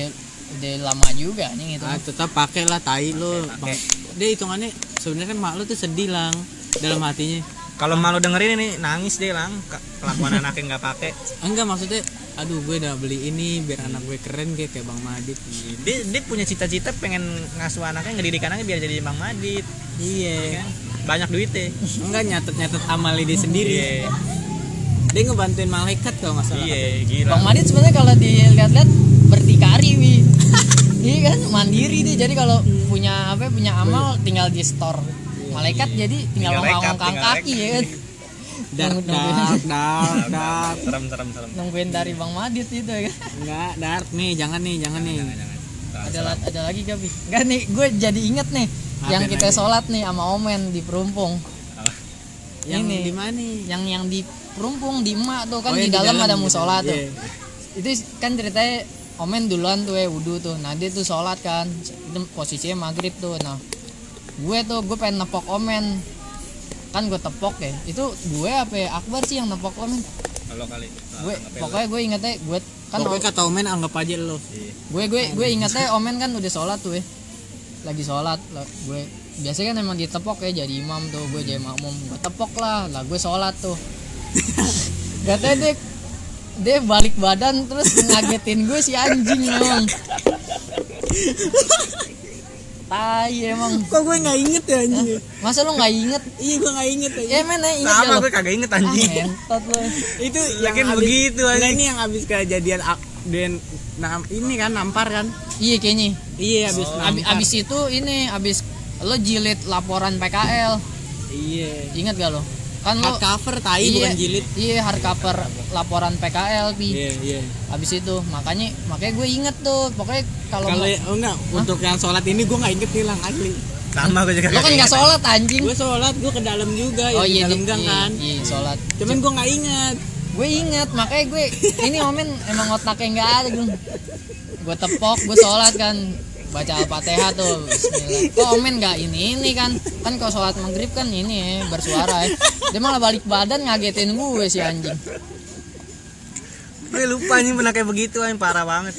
[SPEAKER 1] udah lama juga anjing itu.
[SPEAKER 3] Ah, tetap pakai lah tai lo.
[SPEAKER 2] Pakai, pakai.
[SPEAKER 3] Bang. Dia hitungannya sebenarnya mak lo tuh sedih lang dalam hatinya.
[SPEAKER 2] kalau malu dengerin ini nangis deh lang Ke- kelakuan anaknya nggak pakai
[SPEAKER 3] Enggak maksudnya, aduh gue udah beli ini biar anak gue keren kayak kayak Bang Madit.
[SPEAKER 2] dia, dia punya cita-cita pengen ngasuh anaknya ngedidik anaknya biar jadi bang Madit
[SPEAKER 3] Iya.
[SPEAKER 2] kan? banyak duit deh
[SPEAKER 3] Enggak nyatet-nyatet amalnya dia sendiri.
[SPEAKER 2] iya
[SPEAKER 3] Dia ngebantuin malaikat kalau nggak salah.
[SPEAKER 2] iya gila
[SPEAKER 1] Bang Madit sebenarnya kalau dilihat-lihat berdikari wi. Iya kan mandiri dia. Jadi kalau
[SPEAKER 2] Iya.
[SPEAKER 1] punya apa punya amal tinggal di store. Malaikat jadi tinggal
[SPEAKER 2] iya. Tinggal rekap,
[SPEAKER 1] ngongkang
[SPEAKER 2] tinggal
[SPEAKER 1] kaki ya kan.
[SPEAKER 3] Dark,
[SPEAKER 1] Nunggu-
[SPEAKER 3] dark,
[SPEAKER 1] nungguin,
[SPEAKER 3] dark, dark.
[SPEAKER 2] serem serem serem
[SPEAKER 1] nungguin dari Bang Madit itu ya kan.
[SPEAKER 3] Enggak, dark nih, jangan nih, jangan nih.
[SPEAKER 2] jangan Serem,
[SPEAKER 1] ada
[SPEAKER 2] serem.
[SPEAKER 1] la- ada lagi gak bi Enggak nih gue jadi inget nih
[SPEAKER 3] Apa
[SPEAKER 1] yang kita
[SPEAKER 3] lagi?
[SPEAKER 1] sholat nih sama omen di perumpung
[SPEAKER 2] Apa?
[SPEAKER 3] Yang
[SPEAKER 1] Ini.
[SPEAKER 3] di mana?
[SPEAKER 1] yang yang di perumpung di emak tuh kan
[SPEAKER 3] Oh,
[SPEAKER 1] di,
[SPEAKER 3] yang
[SPEAKER 1] dalam, ada
[SPEAKER 3] gitu.
[SPEAKER 1] musola tuh
[SPEAKER 3] Iya.
[SPEAKER 1] itu kan ceritanya omen duluan tuh ya wudhu tuh nah dia tuh sholat kan itu posisinya maghrib tuh nah gue tuh gue pengen nepok omen kan gue tepok ya itu gue apa ya? akbar sih yang nepok omen
[SPEAKER 2] kalau kali
[SPEAKER 1] gue pokoknya gue ingetnya gue kan
[SPEAKER 3] Pokoknya kata Omen anggap aja lo.
[SPEAKER 1] gue gue gue ingatnya omen kan udah sholat tuh ya lagi sholat lah gue biasanya kan emang ditepok ya jadi imam tuh gue jadi makmum gue tepok lah lah gue sholat tuh katanya dia dia balik badan terus ngagetin gue si anjing emang tai emang
[SPEAKER 3] Kok gue nggak inget ya anjing?
[SPEAKER 1] masa lu nggak inget
[SPEAKER 3] iya gue nggak inget
[SPEAKER 1] ya men ya, inget ya
[SPEAKER 2] sama
[SPEAKER 1] lu
[SPEAKER 2] gue kagak inget
[SPEAKER 1] ah
[SPEAKER 2] anjing
[SPEAKER 1] mentot lu
[SPEAKER 3] Itu
[SPEAKER 2] Lagian begitu, anjing.
[SPEAKER 3] Nah, ini yang abis kejadian ak- dan nam, ini kan nampar kan?
[SPEAKER 1] iya kayaknya
[SPEAKER 3] Iya abis
[SPEAKER 1] abis, abis itu ini abis lo jilid laporan PKL
[SPEAKER 3] Iya.
[SPEAKER 1] inget gak lo kan lo
[SPEAKER 3] Hard cover tai bukan kan jilid.
[SPEAKER 1] iya hardcover laporan PKL bi
[SPEAKER 3] Iya iya.
[SPEAKER 1] habis itu makanya makanya gue inget tuh pokoknya kalau lo
[SPEAKER 3] Kalau oh, enggak untuk yang sholat ini gue nggak inget hilang asli.
[SPEAKER 2] sama gue juga
[SPEAKER 1] kan
[SPEAKER 2] kagak
[SPEAKER 1] nggak sholat anjing
[SPEAKER 3] Gue sholat gue ke dalam juga ya Iya. di dalam
[SPEAKER 1] di-
[SPEAKER 3] gang
[SPEAKER 1] iya,
[SPEAKER 3] kan.
[SPEAKER 1] iya, sholat
[SPEAKER 3] Cuman gue nggak inget.
[SPEAKER 1] gue inget makanya gue ini omen emang otaknya nggak ada gue gue tepok gue sholat kan baca al-fatihah tuh Bismillah. kok omen nggak ini ini kan kan kalau sholat maghrib kan ini ya, bersuara ya. dia malah balik badan ngagetin gue si anjing
[SPEAKER 2] gue lupa anjing pernah kayak begitu anjing parah banget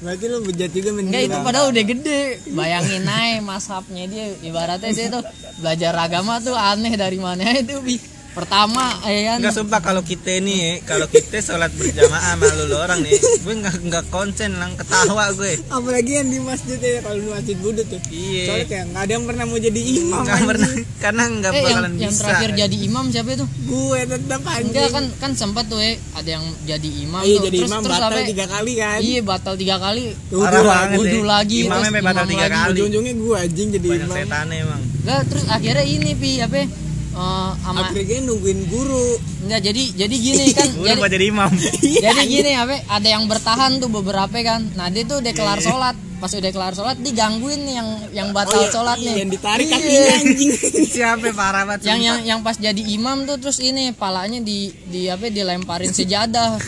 [SPEAKER 3] Berarti lo bejat juga
[SPEAKER 1] Enggak itu padahal udah gede. Bayangin aja mashapnya dia ibaratnya dia tuh belajar agama tuh aneh dari mana itu bi. Pertama ya kan.
[SPEAKER 2] Enggak sumpah kalau kita nih ya, kalau kita sholat berjamaah sama lu lu orang nih, gue nggak nggak konsen lang ketawa gue.
[SPEAKER 3] Apalagi yang di masjid ya kalau di masjid budut tuh.
[SPEAKER 2] Iya.
[SPEAKER 3] Soalnya kayak nggak ada yang pernah mau jadi imam.
[SPEAKER 2] Nggak
[SPEAKER 3] anjing.
[SPEAKER 2] pernah karena nggak
[SPEAKER 1] eh yang,
[SPEAKER 2] bakalan
[SPEAKER 1] yang
[SPEAKER 2] bisa.
[SPEAKER 1] terakhir
[SPEAKER 3] ya.
[SPEAKER 1] jadi imam siapa itu?
[SPEAKER 3] Gue tetap anjing.
[SPEAKER 1] Enggak kan kan sempat tuh ya ada yang jadi imam
[SPEAKER 3] Iya
[SPEAKER 1] tuh.
[SPEAKER 3] jadi
[SPEAKER 1] terus
[SPEAKER 3] imam
[SPEAKER 1] terus
[SPEAKER 3] batal
[SPEAKER 1] sampai-
[SPEAKER 3] tiga kali kan.
[SPEAKER 1] Iya batal tiga kali.
[SPEAKER 2] Parah
[SPEAKER 3] Udah,
[SPEAKER 2] banget
[SPEAKER 1] wudhu
[SPEAKER 2] ya.
[SPEAKER 1] lagi,
[SPEAKER 2] Imamnya
[SPEAKER 1] terus
[SPEAKER 2] sampai batal
[SPEAKER 1] imam
[SPEAKER 2] tiga
[SPEAKER 1] lagi.
[SPEAKER 2] kali.
[SPEAKER 3] Ujung-ujungnya gue anjing jadi
[SPEAKER 2] Banyak
[SPEAKER 3] imam.
[SPEAKER 2] setannya emang.
[SPEAKER 1] Enggak terus akhirnya ini pi apa? ya, Eh ama
[SPEAKER 3] Akhirnya nungguin guru.
[SPEAKER 1] enggak jadi jadi gini kan
[SPEAKER 2] Gue
[SPEAKER 1] jadi
[SPEAKER 2] lupa jadi imam.
[SPEAKER 1] Jadi gini apa? Ada yang bertahan tuh beberapa kan. Nah dia tuh udah kelar sholat. Pas udah kelar sholat digangguin nih yang yang batal
[SPEAKER 3] iya,
[SPEAKER 1] sholat nih.
[SPEAKER 3] iya, Yang ditarik
[SPEAKER 1] Iya.
[SPEAKER 3] kakinya anjing.
[SPEAKER 2] Siapa parah banget.
[SPEAKER 1] Yang
[SPEAKER 2] sumpah.
[SPEAKER 1] yang yang pas jadi imam tuh terus ini palanya di di apa dilemparin sejadah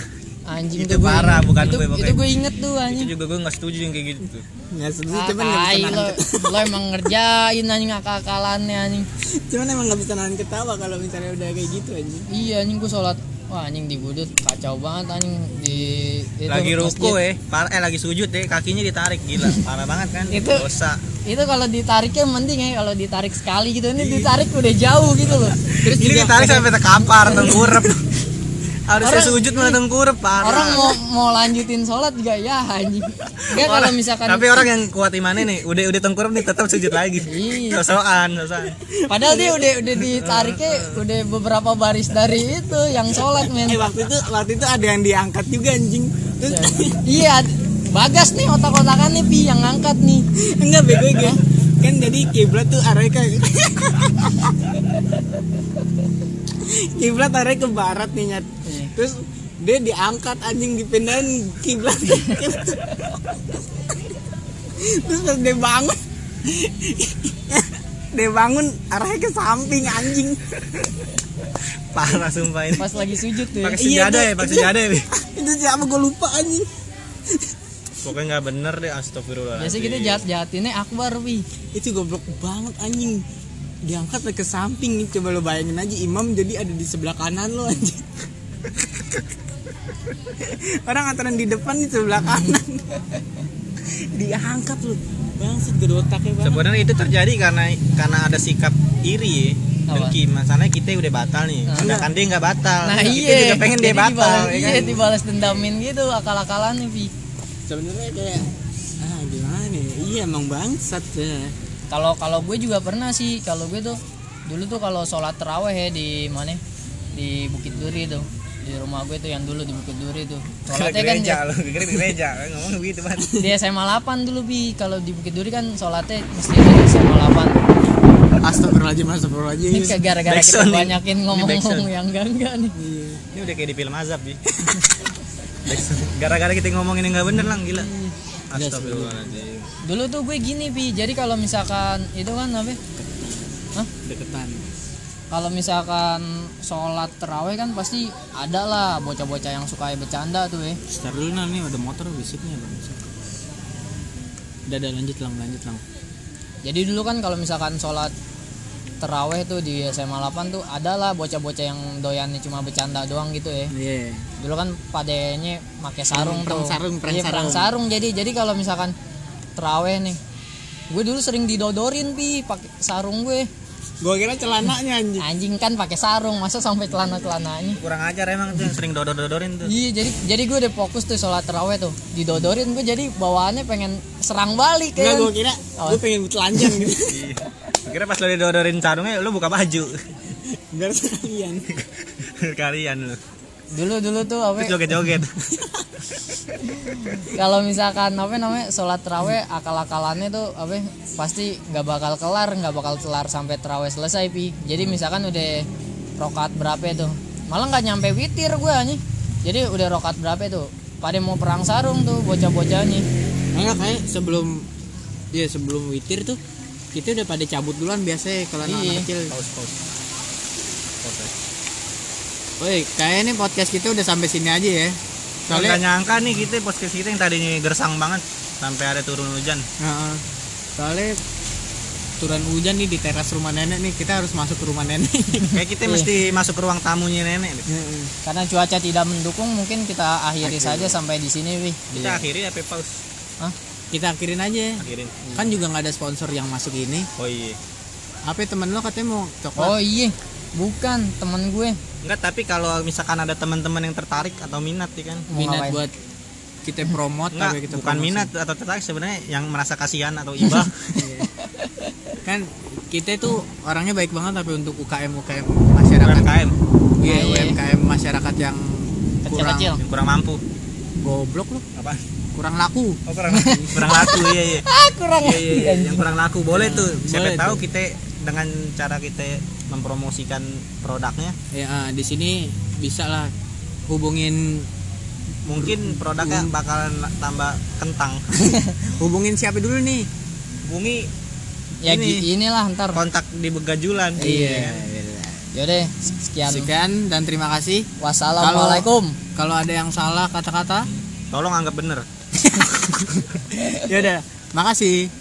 [SPEAKER 1] anjing
[SPEAKER 2] Itu
[SPEAKER 1] tuh gua
[SPEAKER 2] parah,
[SPEAKER 1] inget.
[SPEAKER 2] bukan
[SPEAKER 1] itu,
[SPEAKER 2] gue pakai.
[SPEAKER 1] itu gue inget tuh anjing
[SPEAKER 2] itu juga gue nggak setuju yang kayak gitu
[SPEAKER 3] nggak setuju
[SPEAKER 1] Ah,
[SPEAKER 3] cuman nggak bisa
[SPEAKER 1] tai,
[SPEAKER 3] nahan
[SPEAKER 1] lo, lo emang ngerjain anjing akal-akalannya anjing
[SPEAKER 3] cuman emang nggak bisa nahan ketawa kalau misalnya udah kayak gitu anjing
[SPEAKER 1] iya anjing gue sholat wah anjing di budut kacau banget anjing di itu
[SPEAKER 2] lagi ruko
[SPEAKER 1] masjid.
[SPEAKER 2] eh parah eh lagi sujud deh kakinya ditarik gila parah banget kan
[SPEAKER 1] Itu-
[SPEAKER 2] dosa
[SPEAKER 1] itu kalau ditariknya mending ya kalau ditarik sekali gitu ini ditarik udah jauh gitu loh terus
[SPEAKER 2] ini
[SPEAKER 1] juga
[SPEAKER 2] ditarik sampai terkapar tengkurep harusnya
[SPEAKER 1] Orang-
[SPEAKER 2] sujud malah tengkurep parah
[SPEAKER 1] orang mau mau lanjutin sholat juga ya anjing enggak Iya, kalau
[SPEAKER 2] Orang-
[SPEAKER 1] misalkan
[SPEAKER 2] tapi orang yang kuat imannya nih udah udah tengkurep nih tetap sujud lagi
[SPEAKER 1] Iya.
[SPEAKER 2] sosokan sosokan
[SPEAKER 1] padahal dia udah udah ditariknya udah beberapa baris dari itu yang sholat men
[SPEAKER 3] eh waktu itu waktu itu ada yang diangkat juga anjing terus
[SPEAKER 1] iya bagas nih otak-otakan nih pi yang ngangkat nih
[SPEAKER 3] enggak bego gue kan jadi kiblat tuh arahnya ke kiblat arahnya ke barat nih nyat
[SPEAKER 2] Iya.
[SPEAKER 3] terus dia diangkat anjing dipindahin kiblat terus pas dia bangun dia bangun arahnya ke samping anjing
[SPEAKER 2] parah sumpah ini
[SPEAKER 1] pas lagi sujud tuh ya.
[SPEAKER 2] pakai sejadah ya pakai sejadah ya Bi.
[SPEAKER 3] Iya, itu siapa gue lupa anjing
[SPEAKER 2] pokoknya nggak bener deh astagfirullah
[SPEAKER 1] biasanya kita jahat jahatinnya akbar pi
[SPEAKER 3] itu goblok banget anjing diangkat sampai ke samping nih coba lo bayangin aja imam jadi ada di sebelah kanan lo anjing orang antara di depan di sebelah kanan diangkat lo bangset gede otaknya banget
[SPEAKER 2] sebenarnya itu terjadi karena karena ada sikap iri ya
[SPEAKER 1] Apa?
[SPEAKER 2] dengki masalahnya kita udah batal nih sedangkan dia nggak batal
[SPEAKER 1] nah
[SPEAKER 2] kita
[SPEAKER 1] iya
[SPEAKER 2] juga pengen dia
[SPEAKER 1] Jadi
[SPEAKER 2] batal
[SPEAKER 1] dibalas-
[SPEAKER 2] ya
[SPEAKER 1] iya
[SPEAKER 2] kan?
[SPEAKER 1] dibalas dendamin gitu akal-akalannya pi
[SPEAKER 3] sebenarnya kayak ah gimana ya iya emang bangsat ya
[SPEAKER 1] kalau kalau gue juga pernah sih kalau gue tuh dulu tuh kalau sholat teraweh ya di mana di Bukit Duri tuh di rumah gue tuh yang dulu di Bukit Duri tuh
[SPEAKER 2] Kalau
[SPEAKER 1] sholatnya kan
[SPEAKER 2] gereja lo gereja gereja ngomong begitu banget
[SPEAKER 1] di SMA 8 dulu bi kalau di Bukit Duri kan sholatnya mesti ada di SMA 8
[SPEAKER 3] astagfirullahaladzim astagfirullahaladzim
[SPEAKER 1] ini kayak gara-gara kita
[SPEAKER 2] Backsound nih.
[SPEAKER 1] banyakin
[SPEAKER 2] Ini
[SPEAKER 1] ngomong-ngomong
[SPEAKER 2] backsound.
[SPEAKER 1] yang enggak-enggak nih
[SPEAKER 2] ini udah kayak di film azab sih gara-gara kita ngomongin yang nggak bener lang
[SPEAKER 1] Iya
[SPEAKER 2] gila astagfirullahaladzim
[SPEAKER 1] dulu tuh gue gini bi jadi kalau misalkan itu kan apa ya?
[SPEAKER 3] deketan
[SPEAKER 1] kalau misalkan sholat teraweh kan pasti ada lah bocah-bocah yang suka bercanda tuh ya
[SPEAKER 3] Sebentar dulu nah, nih ada motor bisiknya bangsat udah udah lanjut lang lanjut lang
[SPEAKER 1] Jadi dulu kan kalau misalkan sholat teraweh tuh di SMA 8 tuh adalah bocah-bocah yang doyannya cuma bercanda doang gitu ya.
[SPEAKER 3] iya
[SPEAKER 1] Dulu kan padanya pakai sarung tuh.
[SPEAKER 3] Perang Iya, sarung, perang
[SPEAKER 1] Iya, perang sarung. Jadi jadi kalau misalkan teraweh nih gue dulu sering didodorin pi pakai sarung gue
[SPEAKER 3] gua kira celananya anjing
[SPEAKER 1] anjing kan pakai sarung masa sampai celana celananya
[SPEAKER 2] kurang ajar emang tuh yang sering dodor dodorin tuh
[SPEAKER 1] iya jadi jadi gue udah fokus tuh sholat teraweh tuh didodorin gue jadi bawaannya pengen serang balik
[SPEAKER 3] Enggak,
[SPEAKER 1] kan
[SPEAKER 3] gue kira gue pengen telanjang gitu.
[SPEAKER 2] kira pas lo didodorin sarungnya lo buka baju
[SPEAKER 3] Biar sekalian.
[SPEAKER 2] kalian lo
[SPEAKER 1] dulu dulu tuh apa
[SPEAKER 2] terus joget-joget
[SPEAKER 1] kalau misalkan apa namanya sholat teraweh akal-akalannya tuh apa pasti nggak bakal kelar nggak bakal kelar sampai teraweh selesai pi jadi misalkan udah rokat berapa tuh malah nggak nyampe witir gue nih jadi udah rokat berapa tuh pada mau perang sarung tuh bocah-bocah nih
[SPEAKER 3] Enggak kayak sebelum ya sebelum witir tuh kita udah pada cabut duluan biasanya kalau anak
[SPEAKER 1] Iya.
[SPEAKER 3] kecil. Woi, kayaknya nih podcast kita udah sampai sini aja ya.
[SPEAKER 2] Soalnya
[SPEAKER 3] Soalnya
[SPEAKER 2] nyangka nih kita podcast kita yang tadinya gersang banget sampai ada turun hujan.
[SPEAKER 3] Heeh. soalnya turun hujan nih di teras rumah nenek nih kita harus masuk ke rumah nenek.
[SPEAKER 2] Kayak kita mesti masuk ke ruang tamunya nenek. deh.
[SPEAKER 3] Heeh.
[SPEAKER 1] karena cuaca tidak mendukung mungkin kita akhiri saja sampai di sini pi
[SPEAKER 2] Kita akhiri apa pause?
[SPEAKER 3] kita akhirin aja.
[SPEAKER 2] Akhirin.
[SPEAKER 3] Kan juga nggak ada sponsor yang masuk ini.
[SPEAKER 2] Oh iya.
[SPEAKER 3] Apa ya, temen lo katanya mau coklat?
[SPEAKER 1] oh iya bukan temen gue
[SPEAKER 2] Enggak, tapi kalau misalkan ada teman-teman yang tertarik gitu, atau minat ya kan.
[SPEAKER 1] mau
[SPEAKER 3] minat
[SPEAKER 1] ngapain?
[SPEAKER 3] buat kita promote
[SPEAKER 2] Enggak,
[SPEAKER 3] apa kita
[SPEAKER 2] bukan
[SPEAKER 3] promosi?
[SPEAKER 2] minat atau tertarik sebenarnya yang merasa kasihan atau ibah.
[SPEAKER 3] kan kita tuh orangnya baik banget tapi untuk UKM UKM masyarakat
[SPEAKER 2] UMKM
[SPEAKER 3] Iya,
[SPEAKER 1] Ah, iya.
[SPEAKER 3] UMKM masyarakat yang kurang
[SPEAKER 1] kecil-kecil
[SPEAKER 2] yang kurang mampu.
[SPEAKER 3] goblok loh
[SPEAKER 2] Apa?
[SPEAKER 3] kurang laku
[SPEAKER 2] Oh, kurang kurang laku iya iya.
[SPEAKER 1] ah kurang
[SPEAKER 2] Iya, iya, iya. yang kurang laku boleh tuh. Siapa
[SPEAKER 3] boleh
[SPEAKER 2] tahu kita dengan cara kita mempromosikan produknya
[SPEAKER 3] ya ah, di sini bisa lah hubungin
[SPEAKER 2] mungkin produknya
[SPEAKER 3] Hmm.
[SPEAKER 2] bakalan tambah kentang
[SPEAKER 3] hubungin siapa dulu nih
[SPEAKER 2] bungi
[SPEAKER 1] ya
[SPEAKER 2] Ini.
[SPEAKER 1] gi- Ya, inilah ntar
[SPEAKER 2] kontak di begajulan
[SPEAKER 3] iya
[SPEAKER 2] kan?
[SPEAKER 3] ya
[SPEAKER 1] Yaudah, sekian.
[SPEAKER 3] Sekian dan terima kasih.
[SPEAKER 1] Wassalamualaikum.
[SPEAKER 3] Kalau ada yang salah kata-kata,
[SPEAKER 2] Tolong anggap bener.
[SPEAKER 3] ya udah. Makasih.